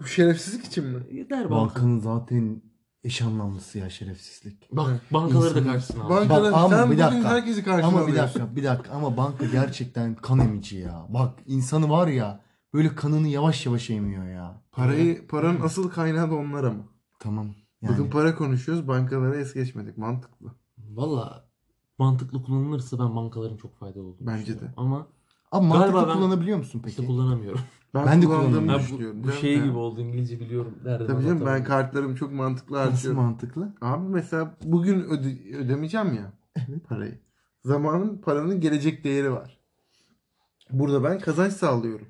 Speaker 1: Bu şerefsizlik için mi?
Speaker 2: Der banka.
Speaker 3: Bankanın zaten eş anlamlısı ya şerefsizlik.
Speaker 2: Bak bankaları da
Speaker 3: İnsanın-
Speaker 2: karşısına al.
Speaker 1: Bankalar,
Speaker 3: Bak ama
Speaker 1: sen
Speaker 3: bir
Speaker 1: bugün
Speaker 3: dakika.
Speaker 1: herkesi karşına
Speaker 3: Ama bir
Speaker 1: alıyorsun.
Speaker 3: dakika bir dakika ama banka gerçekten kan emici ya. Bak insanı var ya böyle kanını yavaş yavaş emiyor ya.
Speaker 1: Parayı, paranın asıl kaynağı da onlar ama.
Speaker 3: Tamam. Yani.
Speaker 1: Bakın para konuşuyoruz bankalara es geçmedik mantıklı.
Speaker 2: Valla mantıklı kullanılırsa ben bankaların çok faydalı olduğunu
Speaker 1: Bence
Speaker 2: düşünüyorum. Ama
Speaker 3: Ama mantıklı
Speaker 2: Galiba ben-
Speaker 3: kullanabiliyor musun peki?
Speaker 2: işte kullanamıyorum.
Speaker 1: Ben,
Speaker 3: Ben de
Speaker 1: kullandığımı
Speaker 3: kullanıyorum.
Speaker 2: Ha,
Speaker 1: düşünüyorum.
Speaker 2: bu, bu
Speaker 1: canım
Speaker 2: şey
Speaker 1: ya.
Speaker 2: gibi oldu İngilizce biliyorum derdim.
Speaker 1: Tabii canım ben
Speaker 2: anlatamadım.
Speaker 1: kartlarımı çok mantıklı
Speaker 3: Nasıl
Speaker 1: harcıyorum.
Speaker 3: mantıklı?
Speaker 1: Abi mesela bugün öde- ödemeyeceğim ya parayı. Zamanın paranın gelecek değeri var. Burada ben kazanç sağlıyorum.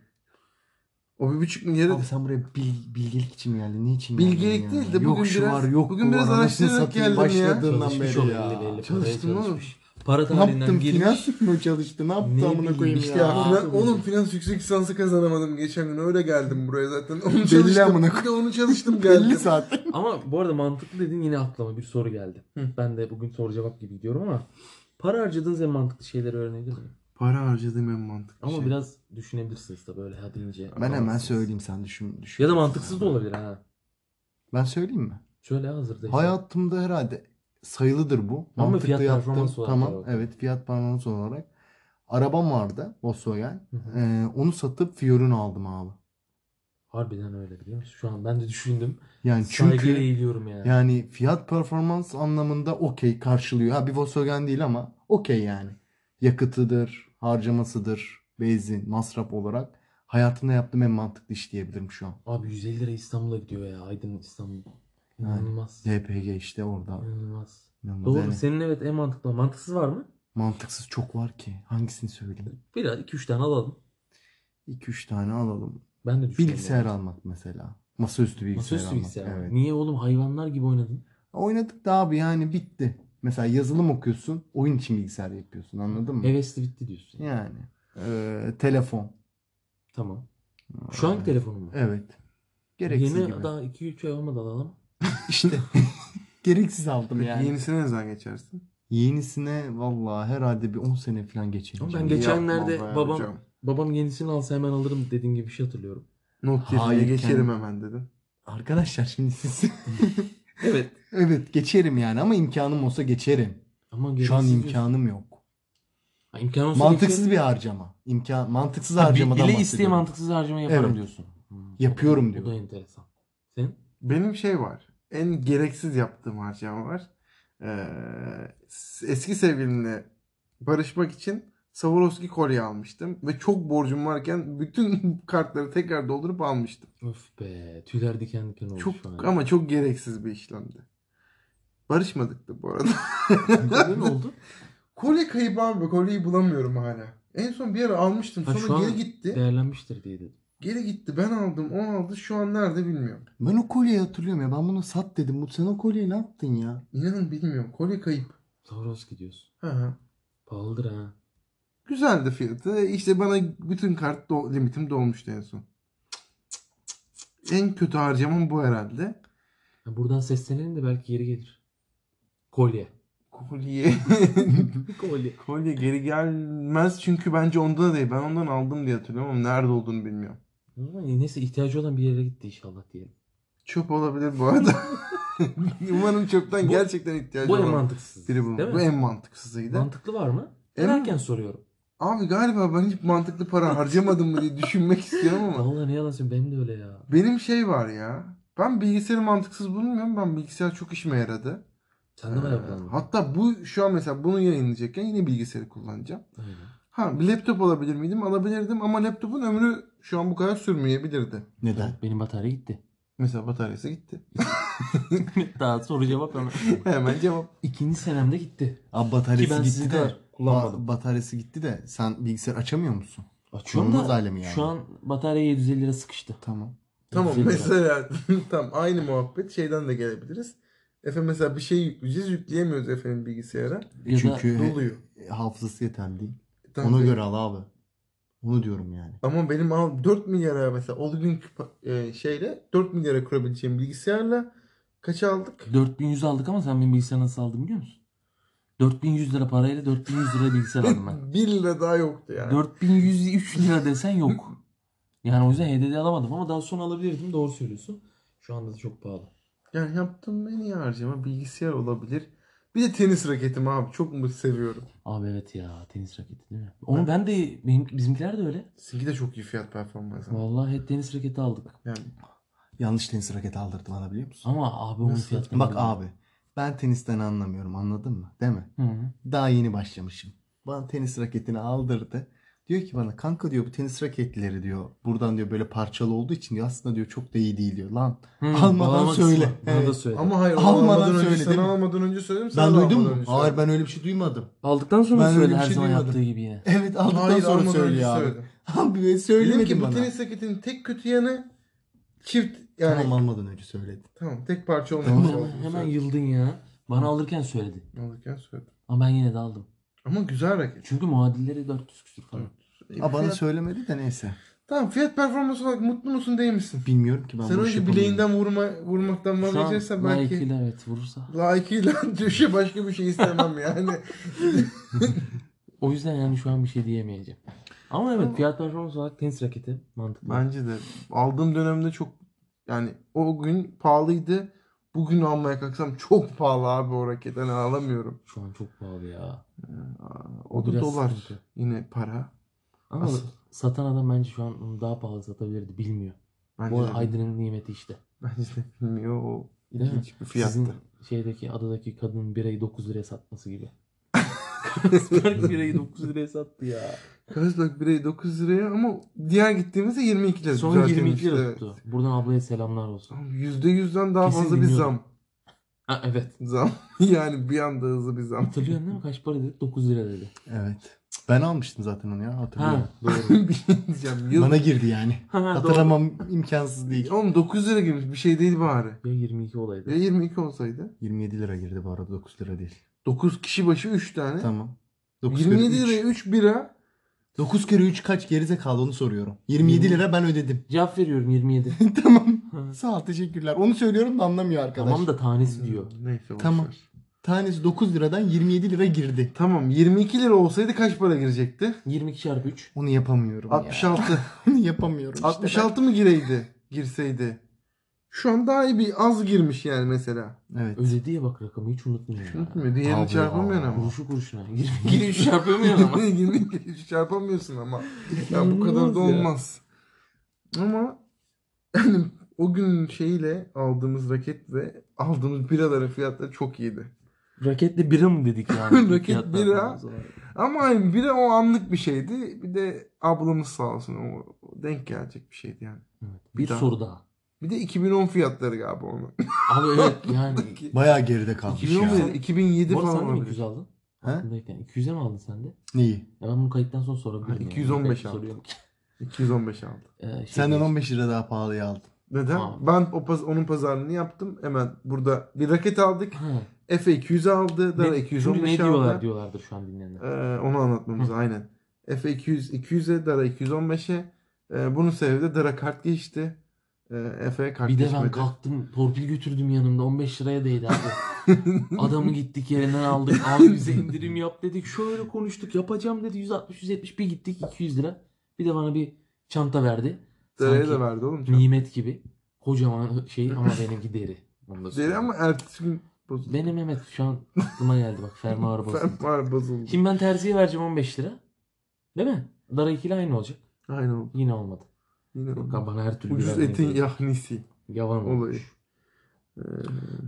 Speaker 1: O bir buçuk milyarı
Speaker 3: Abi sen buraya bil- bilgelik için mi geldin? Ne için geldin
Speaker 1: Bilgelik
Speaker 3: ya?
Speaker 1: değil de bugün
Speaker 3: yok şu
Speaker 1: biraz-
Speaker 3: var yok
Speaker 1: bugün
Speaker 3: bu
Speaker 1: biraz
Speaker 3: var. Anasını
Speaker 1: araştırarak
Speaker 3: satayım,
Speaker 1: geldim ya.
Speaker 3: başladığından
Speaker 2: Çalışmış o
Speaker 3: beri
Speaker 2: belli
Speaker 3: ya.
Speaker 2: belli.
Speaker 1: Çalıştım
Speaker 2: Paraya
Speaker 1: oğlum.
Speaker 2: çalışmış. Para
Speaker 3: Ne yaptın?
Speaker 2: tarihinden
Speaker 3: Finans
Speaker 2: girmiş.
Speaker 3: mı çalıştı? Ne
Speaker 2: Ne
Speaker 3: yaptı amına
Speaker 2: bileyim
Speaker 3: koyayım
Speaker 2: işte
Speaker 1: Ya
Speaker 3: ya?
Speaker 2: abi.
Speaker 1: finan- oğlum finans yüksek lisansı kazanamadım geçen gün öyle geldim buraya zaten. *laughs* Onu
Speaker 3: Belli
Speaker 1: çalıştım.
Speaker 3: amına
Speaker 1: Bir de onu
Speaker 3: *laughs*
Speaker 1: çalıştım geldim.
Speaker 3: 50 saat.
Speaker 2: Ama bu arada mantıklı dediğin yine aklıma bir soru geldi.
Speaker 1: Hı.
Speaker 2: Ben de bugün soru cevap gibi gidiyorum ama para harcadığınız en mantıklı şeyleri öğrenebilir miyim?
Speaker 1: Para harcadığım en mantıklı
Speaker 2: Ama
Speaker 1: şey.
Speaker 2: biraz düşünebilirsiniz tabii öyle ha deyince.
Speaker 3: Ben hemen
Speaker 2: anlamazsınız.
Speaker 3: söyleyeyim sen düşün. düşün.
Speaker 2: Ya da mantıksız da olabilir ha.
Speaker 3: Ben söyleyeyim mi?
Speaker 2: Şöyle hazırda. işte.
Speaker 3: Hayatımda herhalde sayılıdır bu.
Speaker 2: Ama
Speaker 3: Mantıklı
Speaker 2: fiyat
Speaker 3: yaptım.
Speaker 2: performans olarak
Speaker 3: Tamam
Speaker 2: da bakalım.
Speaker 3: evet fiyat performans olarak. Arabam vardı Volkswagen.
Speaker 2: Hı hı.
Speaker 3: Ee, onu satıp Fiorino aldım abi.
Speaker 2: Harbiden öyle biliyor musun? Şu an ben de düşündüm.
Speaker 3: Yani
Speaker 2: Çünkü...
Speaker 3: çünkü
Speaker 2: Saygıyla eğiliyorum yani.
Speaker 3: yani fiyat performans anlamında okey karşılıyor. Ha bir Volkswagen değil ama okey yani. Yakıtıdır, harcamasıdır, benzin, masraf olarak hayatımda yaptığım en mantıklı iş diyebilirim şu an.
Speaker 2: Abi 150 lira İstanbul'a gidiyor ya. Aydın İstanbul. İnanılmaz.
Speaker 3: DPG işte orada.
Speaker 2: İnanılmaz.
Speaker 3: İnanılmaz
Speaker 2: Doğru
Speaker 3: yani.
Speaker 2: senin evet en mantıklı. Mantıksız var mı?
Speaker 3: Mantıksız çok var ki. Hangisini söyleyeyim?
Speaker 2: Biraz 2-3 tane alalım.
Speaker 3: 2-3 tane alalım.
Speaker 2: Ben de düşünüyorum.
Speaker 3: Bilgisayar almak mesela. Masaüstü bilgisayar
Speaker 2: Masaüstü
Speaker 3: almak.
Speaker 2: bilgisayar.
Speaker 3: Evet.
Speaker 2: Niye oğlum hayvanlar gibi oynadın?
Speaker 3: Oynadık da abi yani bitti. Mesela yazılım okuyorsun, oyun için bilgisayar yapıyorsun anladın mı?
Speaker 2: Hevesli bitti diyorsun.
Speaker 3: Yani eee, telefon. Ee,
Speaker 2: Tamam. Şu anki telefonun mu?
Speaker 3: Evet. Gereksiz
Speaker 2: Yeni
Speaker 3: gibi.
Speaker 2: daha 2-3 ay olmadı alalım. *laughs*
Speaker 3: İşte gereksiz aldım yani.
Speaker 1: Yenisine ne zaman geçersin?
Speaker 3: Yenisine vallahi herhalde bir 10 sene falan geçecek.
Speaker 2: Ama ben geçenlerde
Speaker 1: Yapma be
Speaker 2: babam-
Speaker 1: hocam.
Speaker 2: Babam yenisini alsa hemen alırım dediğin gibi bir şey hatırlıyorum.
Speaker 1: Note 7'ye
Speaker 3: Hayır,
Speaker 1: geçerim
Speaker 3: kendim-
Speaker 1: hemen dedim.
Speaker 3: Arkadaşlar şimdi siz *laughs*
Speaker 2: Evet.
Speaker 3: Evet geçerim yani ama imkanım olsa geçerim.
Speaker 2: Aman
Speaker 3: Şu an
Speaker 2: gereksiz diyorsun.
Speaker 3: imkanım yok.
Speaker 2: Ha, şey- imkan olsa
Speaker 3: Mantıksız
Speaker 2: geçer-
Speaker 3: bir harcama. İmkan mantıksız
Speaker 2: Ha,
Speaker 3: harcamadan
Speaker 2: Bile
Speaker 3: bahsediyorum.
Speaker 2: isteye mantıksız harcama yaparım
Speaker 3: Evet.
Speaker 2: diyorsun. Hmm,
Speaker 3: Yapıyorum
Speaker 2: o da- O da
Speaker 3: diyorum.
Speaker 2: enteresan. Sen?
Speaker 1: Benim şey var. En gereksiz yaptığım harcama var. Ee, eski sevgilimle barışmak için Swarovski kolye almıştım. Ve çok borcum varken bütün *laughs* kartları tekrar doldurup almıştım.
Speaker 2: Öf be tüyler diken diken oldu
Speaker 1: Çok
Speaker 2: şu an.
Speaker 1: ama çok gereksiz bir işlemdi. Barışmadık da bu arada. *laughs*
Speaker 2: ne
Speaker 3: *laughs*
Speaker 2: oldu?
Speaker 1: Kolye kaybı abi. Kolyeyi bulamıyorum hala. En son bir ara almıştım.
Speaker 2: Ha, şu
Speaker 1: Sonra
Speaker 2: an e-
Speaker 1: geri gitti.
Speaker 2: Değerlenmiştir diye dedim.
Speaker 1: Geri gitti. Ben aldım. O aldı. Şu an nerede bilmiyorum.
Speaker 3: Ben o kolyeyi hatırlıyorum ya. Ben bunu sat dedim. Bu sen o kolyeyi ne yaptın ya?
Speaker 1: İnanın bilmiyorum. Kolye kayıp.
Speaker 2: Swarovski diyorsun.
Speaker 1: Hı hı.
Speaker 2: Pahalıdır ha.
Speaker 1: Güzeldi fiyatı. İşte bana bütün kart do- limitim dolmuştu en son. En kötü harcamam bu herhalde.
Speaker 2: Ha, buradan seslenelim de belki geri gelir. Kolye.
Speaker 1: Kolye. *laughs*
Speaker 2: Kolye.
Speaker 1: Kolye geri gelmez çünkü bence ondan değil. Ben ondan aldım diye hatırlıyorum ama nerede olduğunu bilmiyorum.
Speaker 2: Neyse ihtiyacı olan bir yere gitti inşallah diyelim.
Speaker 1: Çöp olabilir bu arada. *laughs* Umarım çöpten
Speaker 2: Bu-
Speaker 1: gerçekten ihtiyacı
Speaker 2: Bu en
Speaker 1: olan
Speaker 2: mantıksız.
Speaker 1: biri
Speaker 2: Değil
Speaker 1: bu.
Speaker 2: mi?
Speaker 1: Bu en mantıksızıydı.
Speaker 2: Mantıklı var mı?
Speaker 1: En-
Speaker 2: Erken soruyorum.
Speaker 1: Abi galiba ben hiç mantıklı
Speaker 2: *laughs*
Speaker 1: para harcamadım mı diye düşünmek istiyorum ama.
Speaker 2: Vallahi ne yalan söyleyeyim benim de öyle ya.
Speaker 1: Benim şey var ya. Ben bilgisayarı mantıksız bulmuyorum. Ben bilgisayar çok işime yaradı.
Speaker 2: Sen de var
Speaker 1: Ee,
Speaker 2: ya plan.
Speaker 1: hatta bu şu an mesela bunu yayınlayacakken yine bilgisayarı kullanacağım.
Speaker 2: Aynen.
Speaker 1: Ha bir laptop alabilir miydim? Alabilirdim ama laptopun ömrü şu an bu kadar sürmeyebilirdi.
Speaker 3: Neden?
Speaker 2: Benim batarya gitti.
Speaker 1: Mesela bataryası gitti.
Speaker 2: Daha soru cevap hemen.
Speaker 1: Hemen cevap.
Speaker 2: İkinci senemde gitti.
Speaker 3: Abi
Speaker 2: Ki
Speaker 3: bataryası
Speaker 2: ben sizi
Speaker 3: gitti de.
Speaker 2: kadar kullanmadım.
Speaker 3: Ba- bataryası gitti de sen bilgisayar açamıyor musun?
Speaker 2: Açıyorum
Speaker 3: Normal
Speaker 2: da
Speaker 3: hali mi yani?
Speaker 2: şu an batarya 750 lira sıkıştı.
Speaker 3: Tamam.
Speaker 1: Tamam
Speaker 2: 750 lira.
Speaker 1: *laughs* mesela tam aynı muhabbet şeyden de gelebiliriz. Efendim mesela bir şey yükleyeceğiz yükleyemiyoruz efendim bilgisayara.
Speaker 2: Ya da
Speaker 3: Çünkü he-
Speaker 1: Doluyor.
Speaker 3: E, hafızası yeterli değil.
Speaker 1: Tamam.
Speaker 3: Ona göre al abi. Onu diyorum yani.
Speaker 1: Ama benim al 4 milyara mesela o gün e, şeyle 4 milyara kurabileceğim bilgisayarla kaça aldık?
Speaker 2: 4100 aldık ama sen benim bilgisayarı nasıl aldın biliyor musun? 4100 lira parayla 4100 lira bilgisayar
Speaker 1: *laughs*
Speaker 2: aldım ben.
Speaker 1: 1 lira daha yoktu yani.
Speaker 2: 4103 lira desen yok. Yani o yüzden HDD alamadım ama daha sonra alabilirdim. Doğru söylüyorsun. Şu anda da çok pahalı.
Speaker 1: Yani yaptığım en iyi harcama bilgisayar olabilir. Bir de tenis raketim abi. Çok mu seviyorum.
Speaker 2: Abi evet ya tenis raketi değil mi? Onu ben de benim, bizimkiler de öyle.
Speaker 1: Sizinki de çok iyi fiyat performansı.
Speaker 2: Vallahi hep tenis raketi aldık.
Speaker 1: Yani
Speaker 3: Yanlış tenis raketi aldırdı bana biliyor musun?
Speaker 2: Ama abi onun
Speaker 1: Nasıl?
Speaker 2: fiyatları.
Speaker 3: Bak abi ben tenisten anlamıyorum anladın mı? Değil mi?
Speaker 2: Hı hı.
Speaker 3: Daha yeni başlamışım. Bana tenis raketini aldırdı. Diyor ki bana kanka diyor bu tenis raketleri diyor buradan diyor böyle parçalı olduğu için diyor aslında diyor çok da iyi değil diyor. Lan
Speaker 2: Hı,
Speaker 3: Almadan
Speaker 2: bağlama kısmı.
Speaker 3: söyle.
Speaker 2: Bunu
Speaker 3: Evet.
Speaker 2: da söyle.
Speaker 1: ama hayır onu
Speaker 3: Almadan
Speaker 1: almadan önce
Speaker 3: söyle, değil
Speaker 1: sana
Speaker 3: mi?
Speaker 1: almadan önce söyledim sana
Speaker 3: ben
Speaker 1: da
Speaker 3: duydum
Speaker 1: almadan
Speaker 3: mu?
Speaker 1: önce
Speaker 3: Hayır
Speaker 1: söyledim.
Speaker 3: ben öyle bir şey duymadım.
Speaker 2: Aldıktan sonra
Speaker 3: Ben öyle
Speaker 2: söyle
Speaker 3: bir
Speaker 2: her
Speaker 3: şey
Speaker 2: zaman
Speaker 3: duymadım.
Speaker 2: yaptığı gibi yine.
Speaker 3: Evet aldıktan
Speaker 1: Hayır,
Speaker 3: sonra
Speaker 1: almadan önce
Speaker 3: söylüyor abi.
Speaker 1: söyledim.
Speaker 3: *laughs* Abi ben
Speaker 1: Dedim ki
Speaker 3: söylemedin
Speaker 1: bu
Speaker 3: bana.
Speaker 1: tenis raketinin tek kötü yanı çift yani
Speaker 3: Tamam
Speaker 1: tamam,
Speaker 3: almadan önce söyledin.
Speaker 1: tek parça
Speaker 2: Ama
Speaker 1: olmaması
Speaker 3: Tamam.
Speaker 2: hemen,
Speaker 1: lazım.
Speaker 2: hemen yıldın ya. Bana alırken söyledi.
Speaker 1: Alırken söyledim.
Speaker 2: Ama ben yine de aldım.
Speaker 1: Ama güzel raket.
Speaker 2: Çünkü muadilleri 400 küsür falan.
Speaker 1: İyi
Speaker 3: Aa, bana
Speaker 1: fiyat-
Speaker 3: söylemedi de neyse.
Speaker 1: Tamam fiyat performansı olarak mutlu musun değil misin?
Speaker 3: Bilmiyorum ki ben
Speaker 1: Sen
Speaker 3: bu işi
Speaker 1: önce
Speaker 3: yapamıyorum.
Speaker 1: bileğinden vurma, vurmaktan
Speaker 2: Şu an
Speaker 1: vazgeçersen belki...
Speaker 2: layıkıyla evet vurursa.
Speaker 1: Layıkıyla *laughs* düşe başka bir şey istemem yani.
Speaker 2: O yüzden yani şu an bir şey diyemeyeceğim. Ama evet fiyat performans olarak tenis raketi mantıklı.
Speaker 1: Bence de aldığım dönemde çok yani o gün pahalıydı. Bugün almaya kalksam çok pahalı abi o raket. Hani alamıyorum.
Speaker 2: Şu an çok pahalı ya.
Speaker 1: Aa,
Speaker 2: O
Speaker 1: O da
Speaker 2: biraz
Speaker 1: dolar.
Speaker 2: sıkıntı.
Speaker 1: Yine para.
Speaker 2: Ama
Speaker 1: Asıl.
Speaker 2: satan adam bence şu an onu daha pahalı satabilirdi bilmiyor.
Speaker 1: Bence
Speaker 2: Bu
Speaker 1: de,
Speaker 2: Aydın'ın nimeti işte.
Speaker 1: bence de bilmiyor. O
Speaker 2: Değil mi?
Speaker 1: ilginç bir fiyattı.
Speaker 2: Sizin şeydeki adadaki kadının birayı 9 liraya
Speaker 1: *laughs*
Speaker 2: satması gibi. Carlsberg birayı 9 liraya sattı ya.
Speaker 1: Carlsberg bireyi 9 liraya ama diğer gittiğimizde 22 lira.
Speaker 2: Son
Speaker 1: düzeltilmişti,
Speaker 2: 22 lira
Speaker 1: evet.
Speaker 2: tuttu. Buradan ablaya selamlar olsun.
Speaker 1: Tamam, %100'den daha
Speaker 2: Kesin
Speaker 1: fazla bir
Speaker 2: bilmiyorum.
Speaker 1: zam.
Speaker 2: Ha evet.
Speaker 1: Zam. *laughs* Yani bir anda hızlı bir zam.
Speaker 2: Hatırlıyorsun değil mi? Kaç para dedi? 9 lira dedi.
Speaker 3: Evet. Ben almıştım zaten onu ya hatırlıyorum.
Speaker 2: Ha.
Speaker 1: *laughs*
Speaker 3: Doğru.
Speaker 1: bir şey diyeceğim. Yıl...
Speaker 3: Bana girdi yani.
Speaker 2: Ha, doğru.
Speaker 3: Hatırlamam imkansız değil.
Speaker 1: Oğlum 9 lira girmiş bir şey değil bari.
Speaker 2: Ya 22 olaydı.
Speaker 1: Ya 22 olsaydı.
Speaker 3: 27 lira girdi bu arada 9 lira değil.
Speaker 1: 9 kişi başı 3 tane.
Speaker 3: Tamam.
Speaker 1: 27
Speaker 3: lira.
Speaker 1: liraya 3 bira.
Speaker 3: 9 kere 3 kaç gerizekalı onu soruyorum. 27 lira ben ödedim. *laughs*
Speaker 2: Cevap
Speaker 1: *laughs*
Speaker 2: veriyorum 27.
Speaker 3: tamam.
Speaker 2: Ha.
Speaker 3: Sağ ol teşekkürler. Onu söylüyorum da anlamıyor arkadaş.
Speaker 2: tamam da tanesi diyor.
Speaker 1: Neyse boş
Speaker 3: Tamam.
Speaker 1: ver.
Speaker 3: Tanesi 9 liradan 27 lira girdi.
Speaker 1: Tamam 22 lira olsaydı kaç para girecekti?
Speaker 2: 22 çarpı 3.
Speaker 3: Onu yapamıyorum ya.
Speaker 1: 66.
Speaker 3: Onu yapamıyorum işte ben.
Speaker 1: 66 mı gireydi? Girseydi. Şu an daha iyi bir az girmiş yani mesela.
Speaker 3: Evet.
Speaker 2: Ödediye bak rakamı hiç unutmuyorum.
Speaker 1: Unutmuyor. Diğerini
Speaker 3: Abi,
Speaker 1: çarpamıyorsun
Speaker 3: abi. *laughs*
Speaker 1: ama.
Speaker 2: Kuruşu kuruşuna. 23 çarpamıyor
Speaker 1: *laughs*
Speaker 2: ama.
Speaker 1: 22 çarpamıyorsun ama. Ya bu kadar
Speaker 2: İnanılmaz
Speaker 1: da
Speaker 2: ya.
Speaker 1: olmaz. Ama yani o gün şeyle aldığımız raket ve aldığımız biraların fiyatları çok iyiydi.
Speaker 2: Raketle bira mı dedik
Speaker 1: *laughs*
Speaker 2: yani?
Speaker 1: Raket
Speaker 2: Fiyatlar
Speaker 1: bira.
Speaker 2: falan o zaman.
Speaker 1: Ama hani bira o anlık bir şeydi. Bir de ablamız sağ olsun o o denk gelecek bir şeydi yani.
Speaker 2: Evet, bir
Speaker 1: Bira.
Speaker 2: soru daha.
Speaker 1: Bir de 2010 fiyatları galiba onun.
Speaker 2: Abi
Speaker 1: *laughs*
Speaker 2: evet yani.
Speaker 3: Bayağı geride kalmış
Speaker 1: 2010
Speaker 3: ya.
Speaker 1: mu dedi? 2007
Speaker 2: Bu arada
Speaker 1: falan
Speaker 2: sen de mi
Speaker 1: olabilir.
Speaker 2: 200 aldın?
Speaker 3: Ha?
Speaker 2: Aklımdayken. 200'e mi aldın sen de?
Speaker 3: Neyi?
Speaker 2: Ya ben bunu kayıttan sonra sorabilirim.
Speaker 1: Ha,
Speaker 2: yani.
Speaker 1: 215
Speaker 2: Belki
Speaker 1: aldım.
Speaker 2: soruyorum.
Speaker 1: 215 aldı.
Speaker 2: Ee, şey
Speaker 3: Senden
Speaker 2: değil.
Speaker 3: 15 lira daha pahalıya aldım.
Speaker 1: Neden?
Speaker 2: Tamam.
Speaker 1: Ben o paz- onun pazarlığını yaptım. Hemen burada bir raket aldık.
Speaker 2: Ha.
Speaker 1: Efe 200 aldı. Dara
Speaker 2: Ne- Şimdi
Speaker 1: 215
Speaker 2: ne diyorlar
Speaker 1: aldı.
Speaker 2: diyorlardır şu an dinleyenler.
Speaker 1: Ee, onu anlatmamız aynen. Efe 200 200'e, Dara 215'e. Ee, bunun sebebi de Dara kart geçti. Ee, Efe'ye kart
Speaker 2: Bir de
Speaker 1: geçmedi.
Speaker 2: ben kalktım torpil götürdüm yanımda 15 liraya değdi abi.
Speaker 1: *laughs*
Speaker 2: Adamı gittik yerinden aldık. Abi bize indirim yap dedik. Şöyle konuştuk yapacağım dedi. 160-170 bir gittik 200 lira. Bir de bana bir çanta verdi.
Speaker 1: Dara'ya da
Speaker 2: Sanki
Speaker 1: verdi oğlum.
Speaker 2: Nimet gibi. Kocaman
Speaker 1: *laughs*
Speaker 2: şey ama benimki deri. Onu da
Speaker 1: Deri
Speaker 2: söyleyeyim.
Speaker 1: ama ertesi gün bozuldu.
Speaker 2: Benim Mehmet şu an aklıma geldi bak
Speaker 1: *laughs*
Speaker 2: fermuar basın.
Speaker 1: Fermuar bozuldu.
Speaker 2: Şimdi ben terziye vereceğim 15 lira. Değil mi? Dara 2 ile aynı olacak.
Speaker 1: Aynen oldu.
Speaker 2: Yine olmadı.
Speaker 1: Yine
Speaker 2: Yok
Speaker 1: oldu.
Speaker 2: abi, bana her türlü
Speaker 1: Ucuz
Speaker 2: vermeyin
Speaker 1: etin
Speaker 2: dedi.
Speaker 1: yahnisi.
Speaker 2: Yavan
Speaker 1: olayı.
Speaker 2: olmuş.
Speaker 1: Ee,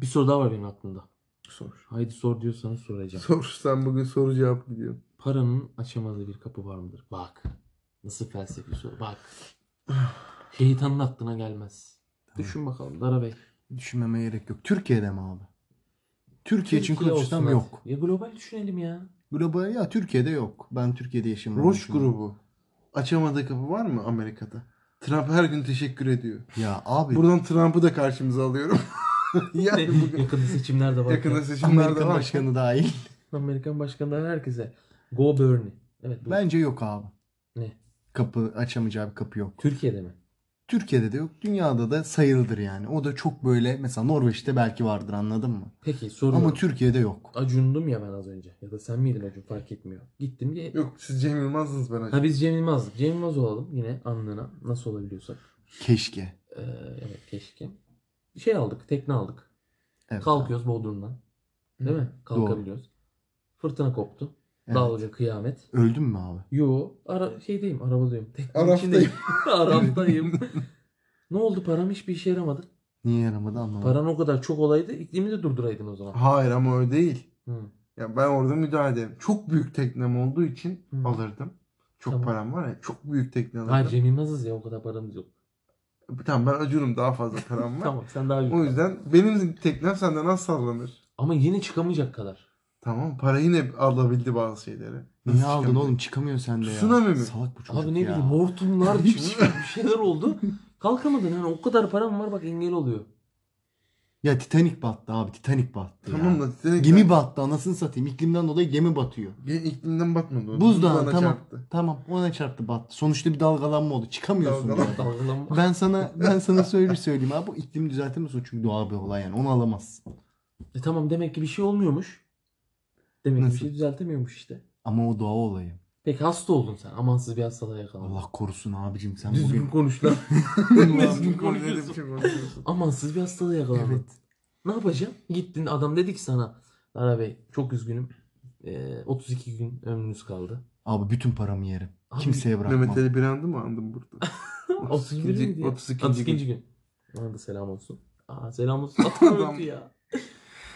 Speaker 2: Bir soru daha var benim aklımda.
Speaker 1: sor.
Speaker 2: Haydi sor diyorsanız soracağım.
Speaker 1: Sor sen bugün soru cevap gidiyorsun.
Speaker 2: Paranın açamadığı bir kapı var mıdır? Bak. Nasıl felsefi soru. Bak. Şeytanın aklına gelmez. Düşün bakalım Dara Bey.
Speaker 3: Düşünmeme gerek yok. Türkiye'de mi abi? Türkiye için
Speaker 2: Türkiye
Speaker 3: konuşsam
Speaker 2: olsun
Speaker 3: yok.
Speaker 2: hadi. Ya global düşünelim ya.
Speaker 3: Global ya Türkiye'de yok. Ben Türkiye'de yaşamıyorum.
Speaker 1: Roş grubu. Açamadığı kapı var mı Amerika'da? Trump her gün teşekkür ediyor.
Speaker 3: Ya abi *laughs*
Speaker 1: Buradan Trump'ı da karşımıza *laughs* alıyorum. yani bugün
Speaker 2: Yakında seçimler de var.
Speaker 1: yakında seçimlerde
Speaker 3: Amerika
Speaker 1: var.
Speaker 3: başkanı dahil.
Speaker 2: Amerikan başkanları herkese. Go Bernie. Evet bu.
Speaker 3: Bence yok abi.
Speaker 2: Ne?
Speaker 3: Kapı açamayacağı bir kapı yok.
Speaker 2: Türkiye'de mi?
Speaker 3: Türkiye'de de yok. Dünyada da sayılıdır yani. O da çok böyle mesela Norveç'te belki vardır anladın mı?
Speaker 2: Peki soruyorum.
Speaker 3: Ama Türkiye'de yok.
Speaker 2: Acundum ya ben az önce. Ya da sen miydin Acun fark etmiyor. Gittim diye.
Speaker 1: Yok siz Cem Yılmaz'sınız ben
Speaker 2: Ha
Speaker 1: acaba.
Speaker 2: biz Cem Yılmaz'dık. Cem Yılmaz olalım yine anlığına. Nasıl olabiliyorsak.
Speaker 3: Keşke.
Speaker 2: Ee, evet keşke. Şey aldık, tekne aldık.
Speaker 3: Evet.
Speaker 2: Kalkıyoruz Bodrum'dan. Değil mi? Kalkabiliyoruz. Fırtına koptu.
Speaker 3: Evet.
Speaker 2: Dalga kıyamet.
Speaker 3: Öldün mü abi?
Speaker 2: Yo, ara şeydeyim, arabadayım. Teknenin
Speaker 1: Araftayım.
Speaker 2: içindeyim. *laughs* Araftayım. ne oldu param hiçbir işe yaramadı.
Speaker 3: Niye yaramadı anlamadım.
Speaker 2: Paran o kadar çok olaydı, iklimi de durduraydın o zaman.
Speaker 1: Hayır ama öyle değil.
Speaker 2: Hı.
Speaker 1: Ya ben orada müdahale ederim. Çok büyük teknem olduğu için
Speaker 2: Hı.
Speaker 1: alırdım. Çok
Speaker 2: Tamam.
Speaker 1: param var ya. Çok büyük tekne alırdım.
Speaker 2: Hayır Cem Yılmaz'ız ya o kadar paramız yok.
Speaker 1: Tamam ben acıyorum daha fazla param *laughs* var.
Speaker 2: Tamam sen daha
Speaker 1: O
Speaker 2: büyük.
Speaker 1: yüzden benim teknem senden az sallanır.
Speaker 2: Ama yine çıkamayacak kadar.
Speaker 1: Tamam para yine alabildi bazı şeyleri. Nasıl
Speaker 3: Niye aldın
Speaker 1: çıkamayacak?
Speaker 3: oğlum çıkamıyorsun sen de ya.
Speaker 1: Tsunami mi?
Speaker 3: Salak bu çocuk
Speaker 2: Abi ne
Speaker 3: ya.
Speaker 2: bileyim
Speaker 3: *laughs*
Speaker 2: hortumlar çıktı, bir şeyler oldu. Kalkamadın hani o kadar param var bak engel oluyor.
Speaker 3: Ya Titanic battı abi Titanic battı ya.
Speaker 1: Tamam da Titanic'ten-
Speaker 3: Gemi battı anasını satayım. İklimden dolayı gemi batıyor.
Speaker 1: Ge- iklimden batmadı o.
Speaker 3: Buzdağın
Speaker 1: Buzdağına *laughs*
Speaker 3: tamam.
Speaker 1: çarptı.
Speaker 3: Tamam ona çarptı battı. Sonuçta bir dalgalanma oldu. Çıkamıyorsun.
Speaker 1: Dalgalanma.
Speaker 3: diyor.
Speaker 2: Dalgalanma.
Speaker 3: Ben sana ben sana söyle söyleyeyim abi bu iklim düzeltimi sonuç çünkü doğal bir olay yani onu alamazsın.
Speaker 2: E tamam demek ki bir şey olmuyormuş. Demek ki
Speaker 3: Nasıl?
Speaker 2: bir şey düzeltemiyormuş işte.
Speaker 3: Ama o doğa olayı.
Speaker 2: Peki hasta oldun sen. Amansız bir hastalığa yakalandın.
Speaker 3: Allah korusun abicim sen
Speaker 2: Düzgün
Speaker 3: bugün.
Speaker 2: konuş lan.
Speaker 1: Düzgün konuşuyorsun. Çok konuşuyorsun.
Speaker 2: Amansız bir hastalığa yakalandın.
Speaker 3: Evet.
Speaker 2: Ne yapacaksın? Gittin adam dedi ki sana. Lara Bey çok üzgünüm. Ee, 32 gün ömrünüz kaldı.
Speaker 3: Abi bütün paramı yerim.
Speaker 2: Abi,
Speaker 3: Kimseye bırakmam.
Speaker 1: Mehmet Ali Birand'ı mı andım *laughs* burada?
Speaker 2: 32. gün.
Speaker 1: 32.
Speaker 2: 32.
Speaker 1: gün.
Speaker 2: gün. Ona da selam olsun. Aa selam olsun. Adam
Speaker 1: Adam-
Speaker 2: öldü ya.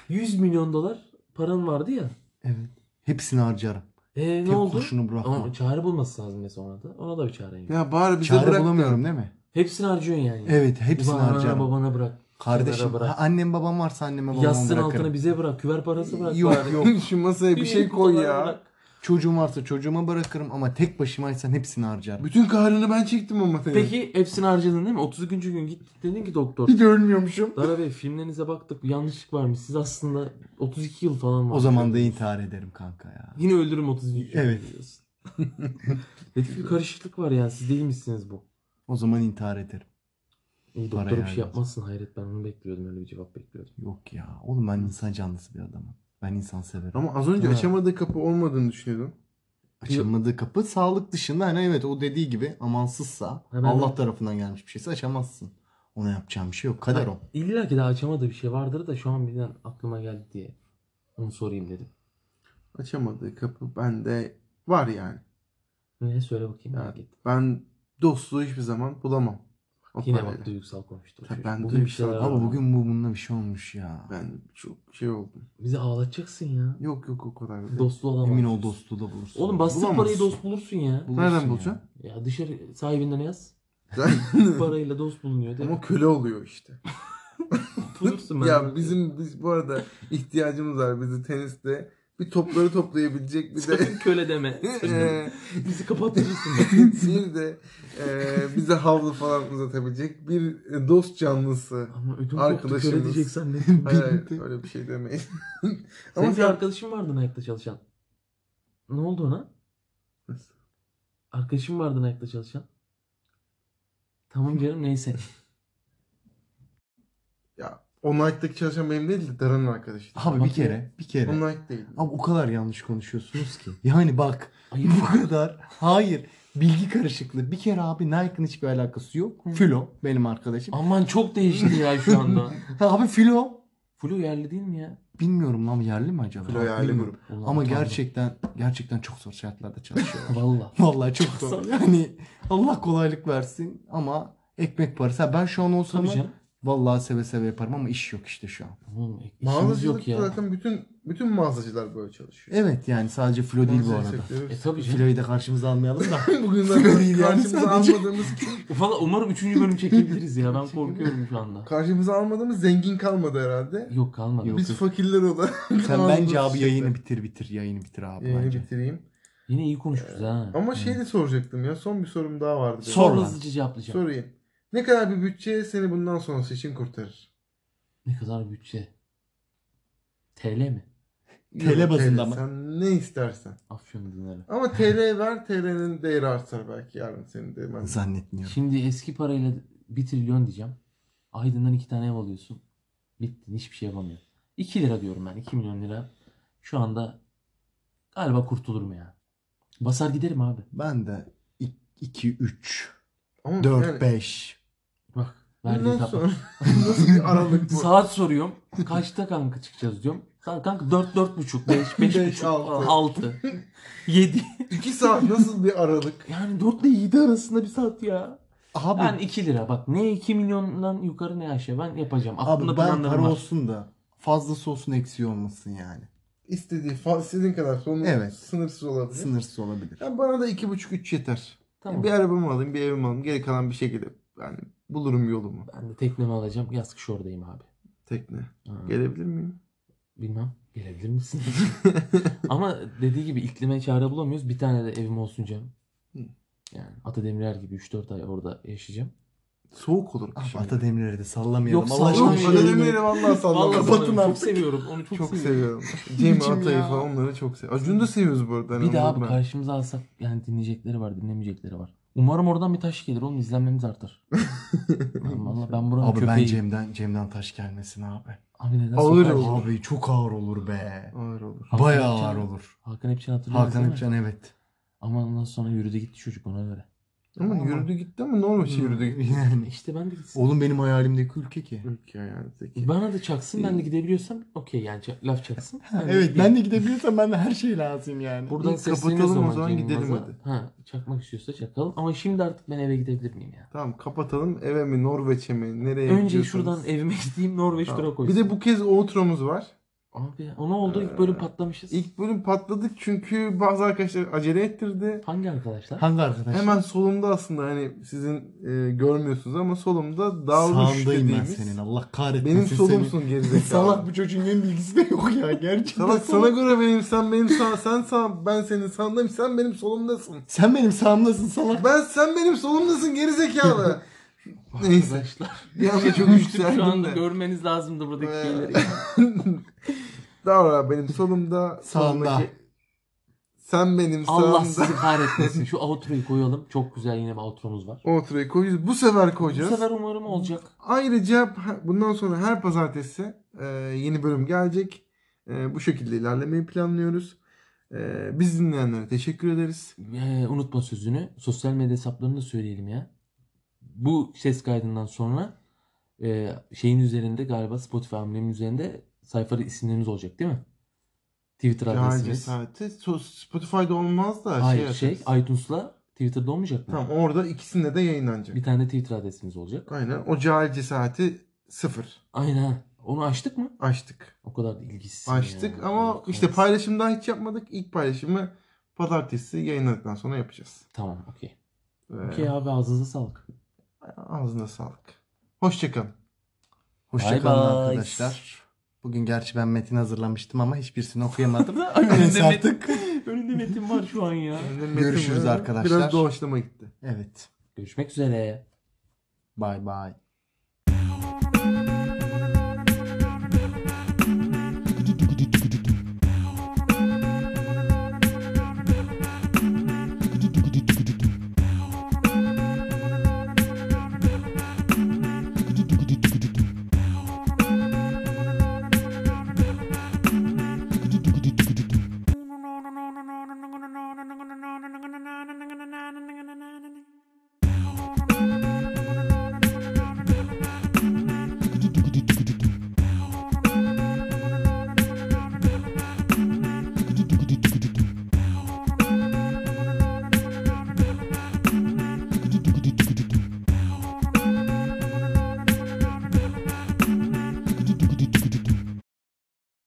Speaker 2: 100 milyon dolar paran vardı ya.
Speaker 3: Evet. Hepsini harcarım.
Speaker 2: Ee, ne
Speaker 3: Tek
Speaker 2: oldu?
Speaker 3: kurşunu bırakmam.
Speaker 2: Ama çare bulması lazım mesela ona da. Ona da bir çare yok.
Speaker 1: Ya bari bize
Speaker 3: Çare
Speaker 1: bırak. *laughs*
Speaker 3: bulamıyorum değil mi?
Speaker 2: Hepsini harcıyorsun yani.
Speaker 3: Evet hepsini
Speaker 2: Ulan anana
Speaker 3: harcarım.
Speaker 2: babana bırak.
Speaker 3: Kardeşim
Speaker 2: kenara bırak.
Speaker 3: ha, annem babam varsa anneme babama
Speaker 2: Yastığın
Speaker 3: bırakırım.
Speaker 1: *laughs*
Speaker 2: altına bize bırak. Küver parası bırak.
Speaker 3: Yok
Speaker 2: bari.
Speaker 3: yok.
Speaker 1: Şu masaya bir şey koy
Speaker 2: Kutulara
Speaker 1: ya.
Speaker 2: bırak.
Speaker 3: Çocuğum varsa çocuğuma bırakırım ama tek başımaysan hepsini harcarım.
Speaker 1: Bütün kahrını ben çektim ama senin.
Speaker 2: Peki hepsini harcadın değil mi? 30. gün gittik dedin ki doktor.
Speaker 3: Bir de ölmüyormuşum.
Speaker 2: Dara Bey filmlerinize baktık bir yanlışlık varmış. Siz aslında 32 yıl falan var.
Speaker 3: O zaman da intihar ederim kanka ya.
Speaker 2: Yine öldürürüm 32 yıl.
Speaker 3: Evet.
Speaker 2: diyorsun. *laughs* Dedik bir karışıklık var yani siz değil misiniz bu?
Speaker 3: O zaman intihar ederim.
Speaker 2: İyi
Speaker 3: Para
Speaker 2: doktora bir
Speaker 3: yani.
Speaker 2: şey yapmazsın hayret ben onu bekliyordum öyle bir cevap bekliyordum.
Speaker 3: Yok ya. Oğlum ben insan canlısı bir adamım. Ben insan severim.
Speaker 1: Ama az önce
Speaker 2: Ha.
Speaker 1: açamadığı kapı olmadığını düşünüyordum.
Speaker 3: Açılmadığı kapı sağlık dışında hani evet o dediği gibi amansızsa
Speaker 2: ben-
Speaker 3: Allah tarafından gelmiş bir şeyse açamazsın. Ona yapacağım bir şey yok. Kader o.
Speaker 2: İlla ki daha açamadığı bir şey vardır da şu an birden aklıma geldi diye onu sorayım dedim.
Speaker 1: Açamadığı kapı bende var yani.
Speaker 2: Ne söyle bakayım merak
Speaker 1: yani
Speaker 2: ettim.
Speaker 1: ben dostluğu hiçbir zaman bulamam. O
Speaker 2: Yine
Speaker 1: parayla.
Speaker 2: bak duygusal konuştu.
Speaker 1: Tabii ben
Speaker 2: Bugün bir
Speaker 1: duygusal-
Speaker 2: şeyler var.
Speaker 3: Abi bugün bu bununla bir şey olmuş ya.
Speaker 1: Ben çok şey oldum.
Speaker 2: Bizi ağlatacaksın ya.
Speaker 1: Yok yok o kadar. değil. *laughs*
Speaker 2: Dostluğu adam
Speaker 3: Emin ol dostluğu da bulursun.
Speaker 2: Oğlum bastır
Speaker 1: Bulamazsın.
Speaker 2: parayı dost bulursun ya.
Speaker 3: Bulursun
Speaker 1: Nereden
Speaker 3: ya.
Speaker 1: bulacaksın?
Speaker 2: Ya dışarı sahibinden yaz. *laughs* Parayla
Speaker 1: *laughs*
Speaker 2: dost bulunuyor değil mi?
Speaker 1: Ama köle oluyor işte.
Speaker 2: Bulursun ben.
Speaker 1: ya
Speaker 2: *laughs*
Speaker 1: bizim biz bu arada ihtiyacımız var bizi teniste bir topları toplayabilecek bir de *laughs*
Speaker 2: Sakın köle deme.
Speaker 1: eee,
Speaker 2: Bizi kapatırsın.
Speaker 1: bir de eee, bize havlu falan uzatabilecek bir dost canlısı.
Speaker 2: *laughs* Ama ödüm koptu
Speaker 1: Arkadaşımız.
Speaker 2: köle diyeceksen
Speaker 1: *laughs*
Speaker 2: ne?
Speaker 1: Hayır, hayır,
Speaker 3: Bilmiyorum.
Speaker 1: öyle bir şey demeyin. Ama
Speaker 2: Senin bir
Speaker 1: sen-
Speaker 2: arkadaşın vardı Nike'da çalışan. Ne oldu ona?
Speaker 1: Nasıl?
Speaker 2: Arkadaşım vardı Nike'da çalışan. Tamam canım neyse. *laughs*
Speaker 1: ya o Nike'daki çalışan benim değil de Dara'nın arkadaşı.
Speaker 3: Abi bir
Speaker 2: Bak ya.
Speaker 3: kere, bir kere.
Speaker 1: O Nike değil.
Speaker 3: Abi o kadar yanlış konuşuyorsunuz ki. Yani bak
Speaker 2: Ayıp.
Speaker 3: bu kadar. Hayır. Bilgi karışıklığı. Bir kere abi Nike'ın hiçbir alakası yok. Filo benim arkadaşım.
Speaker 2: Aman çok değişti ya
Speaker 1: *laughs*
Speaker 2: şu anda.
Speaker 3: Ha, abi Filo.
Speaker 2: Flu yerli değil mi ya?
Speaker 3: Bilmiyorum lan yerli mi acaba?
Speaker 1: Filo yerli
Speaker 3: Bilmiyorum.
Speaker 1: grup.
Speaker 2: Ulan
Speaker 3: Ama
Speaker 2: utandım.
Speaker 3: gerçekten gerçekten çok zor şartlarda çalışıyorlar.
Speaker 2: Valla.
Speaker 3: *laughs* Vallahi çok
Speaker 2: Çok
Speaker 3: zor.
Speaker 2: zor.
Speaker 3: Yani Allah kolaylık versin ama ekmek parası. Ha, Ben şu an olsam
Speaker 2: Tabii canım.
Speaker 3: vallahi seve seve yaparım ama iş yok işte şu an.
Speaker 2: Oğlum, e, işimiz yok
Speaker 1: Mağazacılıkta
Speaker 2: ya.
Speaker 1: zaten bütün bütün mağazacılar böyle çalışıyor.
Speaker 3: Evet yani sadece flo değil bu
Speaker 1: Mağaza
Speaker 3: arada.
Speaker 1: sektörü- *laughs*
Speaker 3: *laughs*
Speaker 2: E tabii canım.
Speaker 3: Flo'yu da karşımıza almayalım da.
Speaker 1: Bugün
Speaker 3: Filo değil
Speaker 1: zaten
Speaker 3: yani
Speaker 1: karşımıza
Speaker 3: sadece.
Speaker 1: almadığımız
Speaker 2: Valla umarım üçüncü bölüm çekebiliriz ya. Ben korkuyorum şu anda.
Speaker 1: karşımıza almadığımız zengin kalmadı herhalde.
Speaker 2: Yok kalmadı.
Speaker 3: Yok.
Speaker 1: Biz fakirler *laughs* olarak.
Speaker 3: Sen bence abi
Speaker 1: Aldık
Speaker 3: yayını
Speaker 1: işte.
Speaker 3: bitir bitir yayını bitir abi
Speaker 1: Yayını
Speaker 3: bence.
Speaker 1: bitireyim.
Speaker 2: Yine iyi konuşmuşuz ha.
Speaker 1: Ama şey de soracaktım ya. Son bir sorum daha vardı. benim.
Speaker 3: Sor
Speaker 2: Sonra
Speaker 3: lan.
Speaker 2: hızlıca cevaplayacağım.
Speaker 1: Sorayım. Ne kadar bir bütçe seni bundan sonrası için kurtarır?
Speaker 2: Ne kadar bütçe? TL mi?
Speaker 3: TL
Speaker 1: Yok,
Speaker 3: bazında mı?
Speaker 1: Sen ne istersen.
Speaker 2: Afyon dinleri.
Speaker 1: Ama TL ver TL'nin değeri artar belki yarın senin de. Ben...
Speaker 3: Zannetmiyorum.
Speaker 2: Şimdi eski parayla 1 trilyon diyeceğim. Aydın'dan 2 tane ev alıyorsun. Bittin hiçbir şey yapamıyor. 2 lira diyorum ben 2 milyon lira. Şu anda galiba kurtulurum ya. Basar giderim abi.
Speaker 3: Ben de 2 3
Speaker 1: Ama
Speaker 3: 4 5
Speaker 2: Bak verdiği
Speaker 1: Bundan
Speaker 2: kapı.
Speaker 1: sonra *laughs* nasıl bir aralık bu?
Speaker 2: *laughs* Saat soruyorum. Kaçta kanka çıkacağız diyorum. Kanka, kanka 4 4.5 5 5
Speaker 1: Beş,
Speaker 2: 5
Speaker 1: altı. *laughs*
Speaker 2: 6 7
Speaker 1: İki saat nasıl bir aralık?
Speaker 2: yani 4 ile 7 arasında bir saat ya.
Speaker 3: Abi
Speaker 2: Ben 2 lira bak ne 2 milyondan yukarı ne aşağı ben yapacağım.
Speaker 3: abi
Speaker 2: Aklımda
Speaker 3: ben
Speaker 2: planlarım
Speaker 3: para
Speaker 2: var.
Speaker 3: olsun da fazlası olsun eksiği olmasın yani.
Speaker 1: İstediği, fa- istediğin kadar sonu
Speaker 3: Evet.
Speaker 1: sınırsız olabilir.
Speaker 3: Sınırsız olabilir.
Speaker 1: Ya bana da iki buçuk üç yeter.
Speaker 2: Tamam.
Speaker 1: Bir arabamı alayım, bir evimi alayım. Geri kalan bir şekilde yani bulurum yolumu.
Speaker 2: Ben de teknemi alacağım. Yaz kış oradayım abi.
Speaker 1: Tekne.
Speaker 2: Ha,
Speaker 1: Gelebilir miyim?
Speaker 2: Bilmem. Gelebilir misin? Ama dediği gibi iklime çare bulamıyoruz. Bir tane de evim olsun canım.
Speaker 1: Hı.
Speaker 2: Yani Ata Demirer gibi 3-4 ay orada yaşayacağım.
Speaker 1: Soğuk olur.
Speaker 3: Ah,
Speaker 1: kışın.
Speaker 3: Ata Demirer'i de
Speaker 2: Yok,
Speaker 3: sallamayalım. Allah aşkına şey
Speaker 1: Oğlum,
Speaker 2: sallamayalım.
Speaker 3: şöyle-
Speaker 1: Ademir'i vallahi salladım.
Speaker 2: Vallahi
Speaker 3: kapatın
Speaker 2: sanırım,
Speaker 3: artık.
Speaker 2: çok seviyorum. Onu çok,
Speaker 1: Çok
Speaker 2: seviyorum.
Speaker 1: seviyorum. Cem
Speaker 3: Biçim
Speaker 1: Atay'ı
Speaker 3: ya.
Speaker 1: falan onları çok seviyorum. Acun'u da seviyoruz bu arada. hani
Speaker 2: Bir de
Speaker 1: onu
Speaker 2: abi
Speaker 1: ben-
Speaker 2: karşımıza alsak yani dinleyecekleri var, dinlemeyecekleri var. Umarım oradan bir taş gelir oğlum izlenmemiz artar. Lan Vallahi ben buranın
Speaker 3: Abi ben
Speaker 2: köpeği.
Speaker 3: Cem'den Cem'den taş gelmesin abi.
Speaker 2: Abi neden
Speaker 1: Ağır
Speaker 2: sokar?
Speaker 1: olur.
Speaker 3: Abi çok ağır olur be.
Speaker 1: Ağır olur.
Speaker 2: Hakan
Speaker 3: Bayağı
Speaker 2: Epçen-
Speaker 3: ağır olur.
Speaker 2: Hakan Epçen hatırlıyor
Speaker 3: Hakan Epçen evet.
Speaker 2: Ama ondan sonra yürüdü gitti çocuk ona göre.
Speaker 1: Ama
Speaker 3: Ama- Hmm.
Speaker 1: yürüdü gitti ama normal şey yürüdü gitti.
Speaker 3: Yani.
Speaker 2: İşte ben de gitsin.
Speaker 3: Oğlum benim hayalimdeki ülke ki.
Speaker 1: Ülke yani zeki.
Speaker 2: Bana da çaksın ben de gidebiliyorsam okey yani ça- laf çaksın. Ben de
Speaker 3: Evet
Speaker 2: gideyim.
Speaker 3: ben de gidebiliyorsam ben de her şey lazım yani.
Speaker 2: Buradan
Speaker 1: İyi,
Speaker 2: sesleniyoruz
Speaker 1: kapatalım o
Speaker 2: o
Speaker 1: zaman,
Speaker 2: zaman
Speaker 1: gidelim
Speaker 2: Cem Yılmaz'a.
Speaker 1: hadi.
Speaker 2: Ha, çakmak istiyorsa çakalım ama şimdi artık ben eve gidebilir miyim ya?
Speaker 1: Tamam kapatalım. Eve mi Norveç'e mi nereye
Speaker 2: Önce
Speaker 1: gidiyorsanız.
Speaker 2: şuradan evime gideyim Norveç
Speaker 1: Tamam.
Speaker 2: dura koysun.
Speaker 1: Bir de bu kez outro'muz var.
Speaker 2: Abi ona oldu ilk bölüm patlamışız.
Speaker 1: İlk bölüm patladık çünkü bazı arkadaşlar acele ettirdi.
Speaker 2: Hangi arkadaşlar?
Speaker 3: Hangi arkadaş?
Speaker 1: Hemen solumda aslında hani sizin e, görmüyorsunuz ama solumda Davuş
Speaker 3: Sağındayım ben
Speaker 1: dediğimiz.
Speaker 3: senin. Allah kahretmesin
Speaker 1: benim
Speaker 3: seni.
Speaker 1: solumsun gerizekalı.
Speaker 3: *laughs* Salak bu çocuğun benim bilgisi de yok ya gerçekten. *laughs*
Speaker 1: Salak sana
Speaker 3: salak.
Speaker 1: göre benim sen benim sağ sen sağ ben senin sağındayım sen benim solumdasın.
Speaker 3: Sen benim sağımdasın salak.
Speaker 1: Ben sen benim solumdasın
Speaker 3: *laughs*
Speaker 1: gerizekalı. Neyse. *laughs*
Speaker 2: Arkadaşlar.
Speaker 1: Bir anda çok
Speaker 2: Şu
Speaker 1: yükseldim
Speaker 2: anda
Speaker 1: de.
Speaker 2: görmeniz lazımdı buradaki
Speaker 1: Ee, *laughs*
Speaker 2: şeyleri.
Speaker 1: Davra benim solumda.
Speaker 3: Sağımda.
Speaker 1: solumdaki- Sen benim
Speaker 2: Allah
Speaker 1: sağımda.
Speaker 2: sizi kahretmesin. Şu outro'yu koyalım. Çok güzel yine bir outro'muz var.
Speaker 1: Outro'yu koyacağız. Bu sefer koyacağız.
Speaker 2: Bu sefer umarım olacak.
Speaker 1: Ayrıca bundan sonra her pazartesi e, yeni bölüm gelecek. E, bu şekilde ilerlemeyi planlıyoruz. E, biz dinleyenlere teşekkür ederiz.
Speaker 2: Ee, unutma sözünü. Sosyal medya hesaplarını da söyleyelim ya. Bu ses kaydından sonra e, şeyin üzerinde galiba Spotify amblemin üzerinde sayfa isimleriniz olacak değil mi? Twitter
Speaker 1: Cahil
Speaker 2: adresiniz.
Speaker 1: Cesareti. So- Spotify'da olmaz da
Speaker 2: Hayır şey,
Speaker 1: yaparız.
Speaker 2: iTunes'la Twitter'da olmayacak mı?
Speaker 1: Tamam orada ikisinde de yayınlanacak.
Speaker 2: Bir tane de Twitter adresimiz olacak.
Speaker 1: Aynen. O cahil cesareti sıfır.
Speaker 2: Aynen. Onu açtık mı?
Speaker 1: Açtık.
Speaker 2: O kadar da ilgisiz.
Speaker 1: Açtık ama işte paylaşımdan hiç yapmadık. İlk paylaşımı pazartesi yayınladıktan sonra yapacağız.
Speaker 2: Tamam okey.
Speaker 1: E,
Speaker 2: Okey abi ağzınıza sağlık. *laughs*
Speaker 1: Ağzına sağlık. Hoşçakalın.
Speaker 2: Bye
Speaker 3: Hoşçakalın
Speaker 2: bye.
Speaker 3: arkadaşlar. Bugün gerçi ben metin hazırlamıştım ama hiçbirisini *laughs* okuyamadım. Neyse
Speaker 2: önünde, metin,
Speaker 3: artık.
Speaker 2: önünde metin var şu an ya.
Speaker 3: Görüşürüz arkadaşlar.
Speaker 1: Biraz doğaçlama gitti.
Speaker 3: Evet.
Speaker 2: Görüşmek üzere.
Speaker 3: Bye bye.